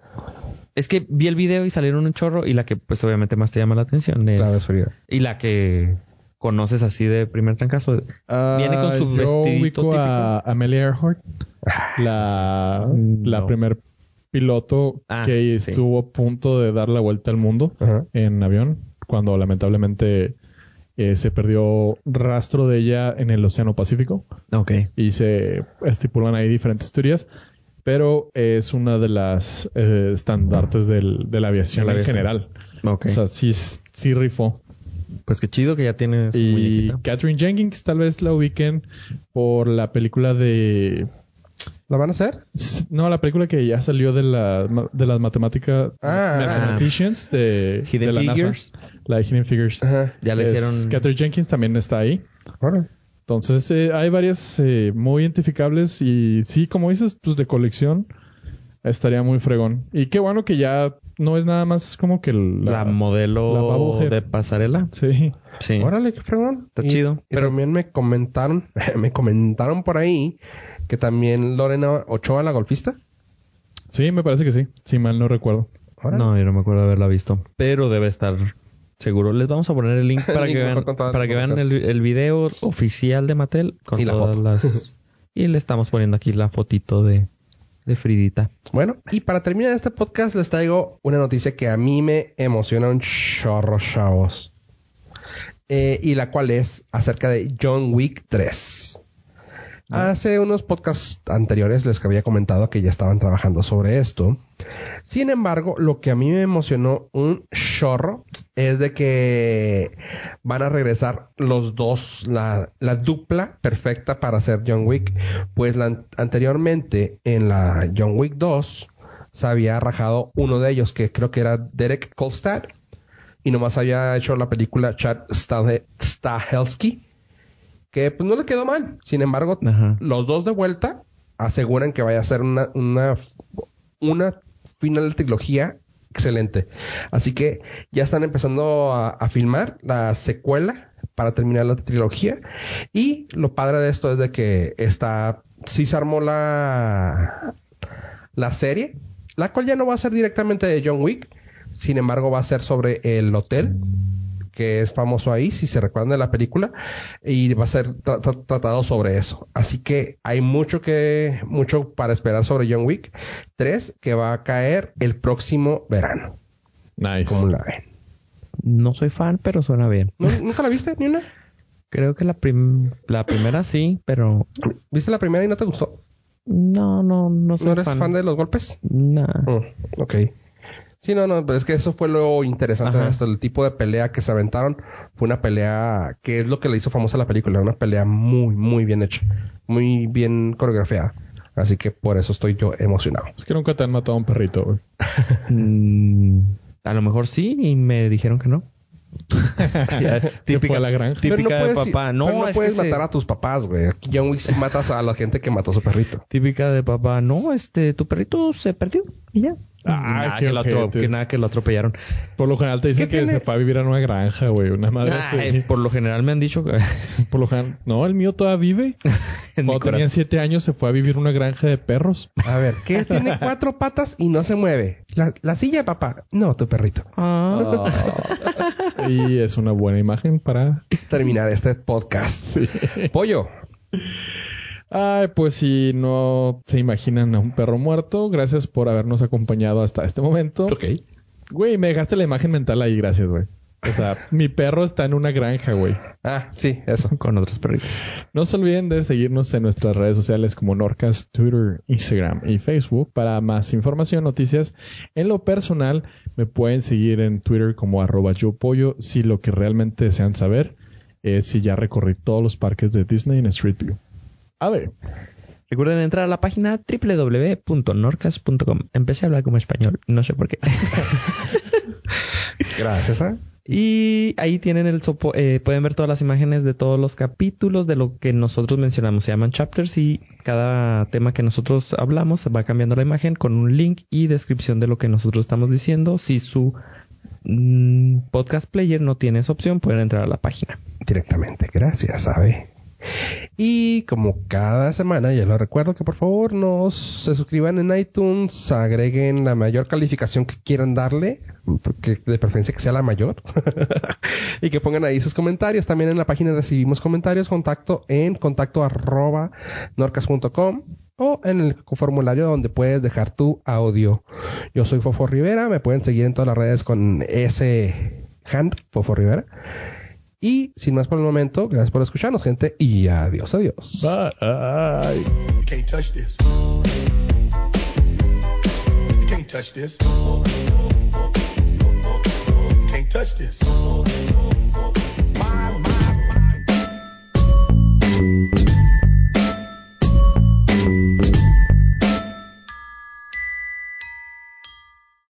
Es que vi el video y salieron un chorro y la que pues obviamente más te llama la atención es
La de Frida.
y la que conoces así de primer trancazo
Ah,
Viene con su
Yo
vestidito
ubico a Amelia Earhart, la, la
No.
primer piloto
Ah,
que
sí.
estuvo a punto de dar la vuelta al mundo
Ajá.
en avión, cuando lamentablemente eh, se perdió rastro de ella en el Océano Pacífico
Ok.
y se estipulan ahí diferentes teorías, pero es una de las eh, estandartes del- de la
De
aviación
la
en
aviación.
general.
Ok.
O sea, sí, sí rifó.
pues qué chido que ya tienes
Y Catherine Jenkins tal vez la ubiquen por la película de...
¿La van a hacer?
S- No, la película que ya salió de, la, ma- de las matemáticas...
Ah,
de
ah.
Mathematicians de,
Hidden
de la NASA.
Figures.
La de Hidden Figures.
Ajá.
Ya le
Es-
hicieron-
Catherine Jenkins también está ahí.
Órale.
Entonces, eh, hay varias eh, muy identificables y sí, como dices, pues de colección estaría muy fregón. Y qué bueno que ya no es nada más como que
la,
la... la
modelo
babujer.
de pasarela.
sí.
Sí.
Órale, qué fregón.
Está
Y-
chido,
y también me comentaron, [LAUGHS] me comentaron por ahí que también Lorena Ochoa, la golfista.
Sí, me parece que sí. Si mal no recuerdo.
Órale.
No, yo no me acuerdo de haberla visto, pero debe estar seguro. Les vamos a poner el
[LAUGHS]
link
El
para
link
que vean,
mejor con toda la
para que vean el,
información.
el video oficial de Mattel con
Y la
todas
foto.
[LAUGHS]
las y le estamos poniendo aquí la fotito de de Fridita.
Bueno, y para terminar este podcast les traigo una noticia que a mí me emociona un chorro, chavos. Eh, y la cual es acerca de John Wick 3. Hace unos podcasts anteriores les había comentado que ya estaban trabajando sobre esto. Sin embargo, lo que a mí me emocionó un chorro es de que van a regresar los dos, la, la dupla perfecta para hacer John Wick. Pues la an- anteriormente en la John Wick 2 se había rajado uno de ellos, que creo que era Derek Kolstad, y nomás había hecho la película Chad Stahe- Stahelski, que pues no le quedó mal. Sin embargo,
Ajá.
los dos de vuelta aseguran que vaya a ser una, una, una final de trilogía excelente. Así que ya están empezando a, a filmar la secuela para terminar la trilogía. Y lo padre de esto es de que está, sí se armó la, la serie, la cual ya no va a ser directamente de John Wick, Sin embargo, va a ser sobre el hotel que es famoso ahí, si se recuerdan de la película, y va a ser tra- tra- tratado sobre eso. Así que hay mucho que, mucho para esperar sobre John Wick 3, que va a caer el próximo verano.
Nice.
¿Cómo la ven?
No soy fan, pero suena bien.
¿Nu- ¿Nunca la viste, ni una?
Creo que la, prim- la primera sí, pero
¿Viste la primera y no te gustó?
no, no, no soy
¿No eres fan,
fan.
de los golpes?
Nah.
Mm, ok. Sí, no, no, pero es que eso fue lo interesante
Ajá.
de esto. El tipo de pelea que se aventaron fue una pelea que es lo que le hizo famosa la película. Una pelea muy, muy bien hecha. Muy bien coreografiada. Así que por eso estoy yo emocionado.
Es que nunca te han matado a un perrito, güey.
Mm, a lo mejor sí y me dijeron que no. [LAUGHS] Ya,
fue a la granja.
Típica
Pero
de
puedes-
papá. No,
pero
es
puedes
que se-
matar a tus papás, güey. Aquí John Wick sí matas a la gente que mató a su perrito.
Típica de papá, no, este, tu perrito se perdió y ya.
Ah,
nada,
qué
que lo atro-
ojetes.
que nada que lo atropellaron.
Por lo general te dicen
¿Qué
que
tiene?
se fue a vivir a una granja, güey. Una madre
Ay,
así.
Por lo general me han dicho que [LAUGHS]
Por lo general. No, el mío todavía vive.
en mi
Cuando tenía
corazón.
siete años se fue a vivir a una granja de perros.
A ver, ¿qué tiene cuatro patas y no se mueve? La, la silla, papá. No, tu perrito.
Ah,
Y es una buena imagen para...
Terminar este podcast. Pollo.
Ay, pues si no se imaginan a un perro muerto, gracias por habernos acompañado hasta este momento. Güey, me dejaste la imagen mental ahí, gracias, güey. O sea, mi perro está en una granja, güey.
Ah, sí, eso.
con otros perritos.
No se olviden de seguirnos en nuestras redes sociales como Norcas, Twitter, Instagram y Facebook. Para más información, noticias, en lo personal, me pueden seguir en Twitter como arroba yo pollo si lo que realmente desean saber es si ya recorrí todos los parques de Disney en Street View. A ver,
Recuerden entrar a la página www.norcas.com. Empecé a hablar como español, no sé por qué.
Gracias, ¿eh?
Y ahí tienen el sopo eh, pueden ver todas las imágenes de todos los capítulos de lo que nosotros mencionamos. Se llaman chapters y cada tema que nosotros hablamos va cambiando la imagen con un link y descripción de lo que nosotros estamos diciendo. Si su mm, podcast player no tiene esa opción, pueden entrar a la página.
directamente. Gracias, sabe. Y como cada semana, ya lo recuerdo que por favor nos se suscriban en iTunes, agreguen la mayor calificación que quieran darle, que de preferencia que sea la mayor, [LAUGHS] y que pongan ahí sus comentarios. También en la página recibimos comentarios, contacto en contacto arroba norcas.com o en el formulario donde puedes dejar tu audio. Yo soy Fofo Rivera, me pueden seguir en todas las redes con ese hand, Fofo Rivera. Y sin más por el momento, gracias por escucharnos, gente, y adiós, adiós.
bye.
Can't touch this. You can't touch this. Can't touch this.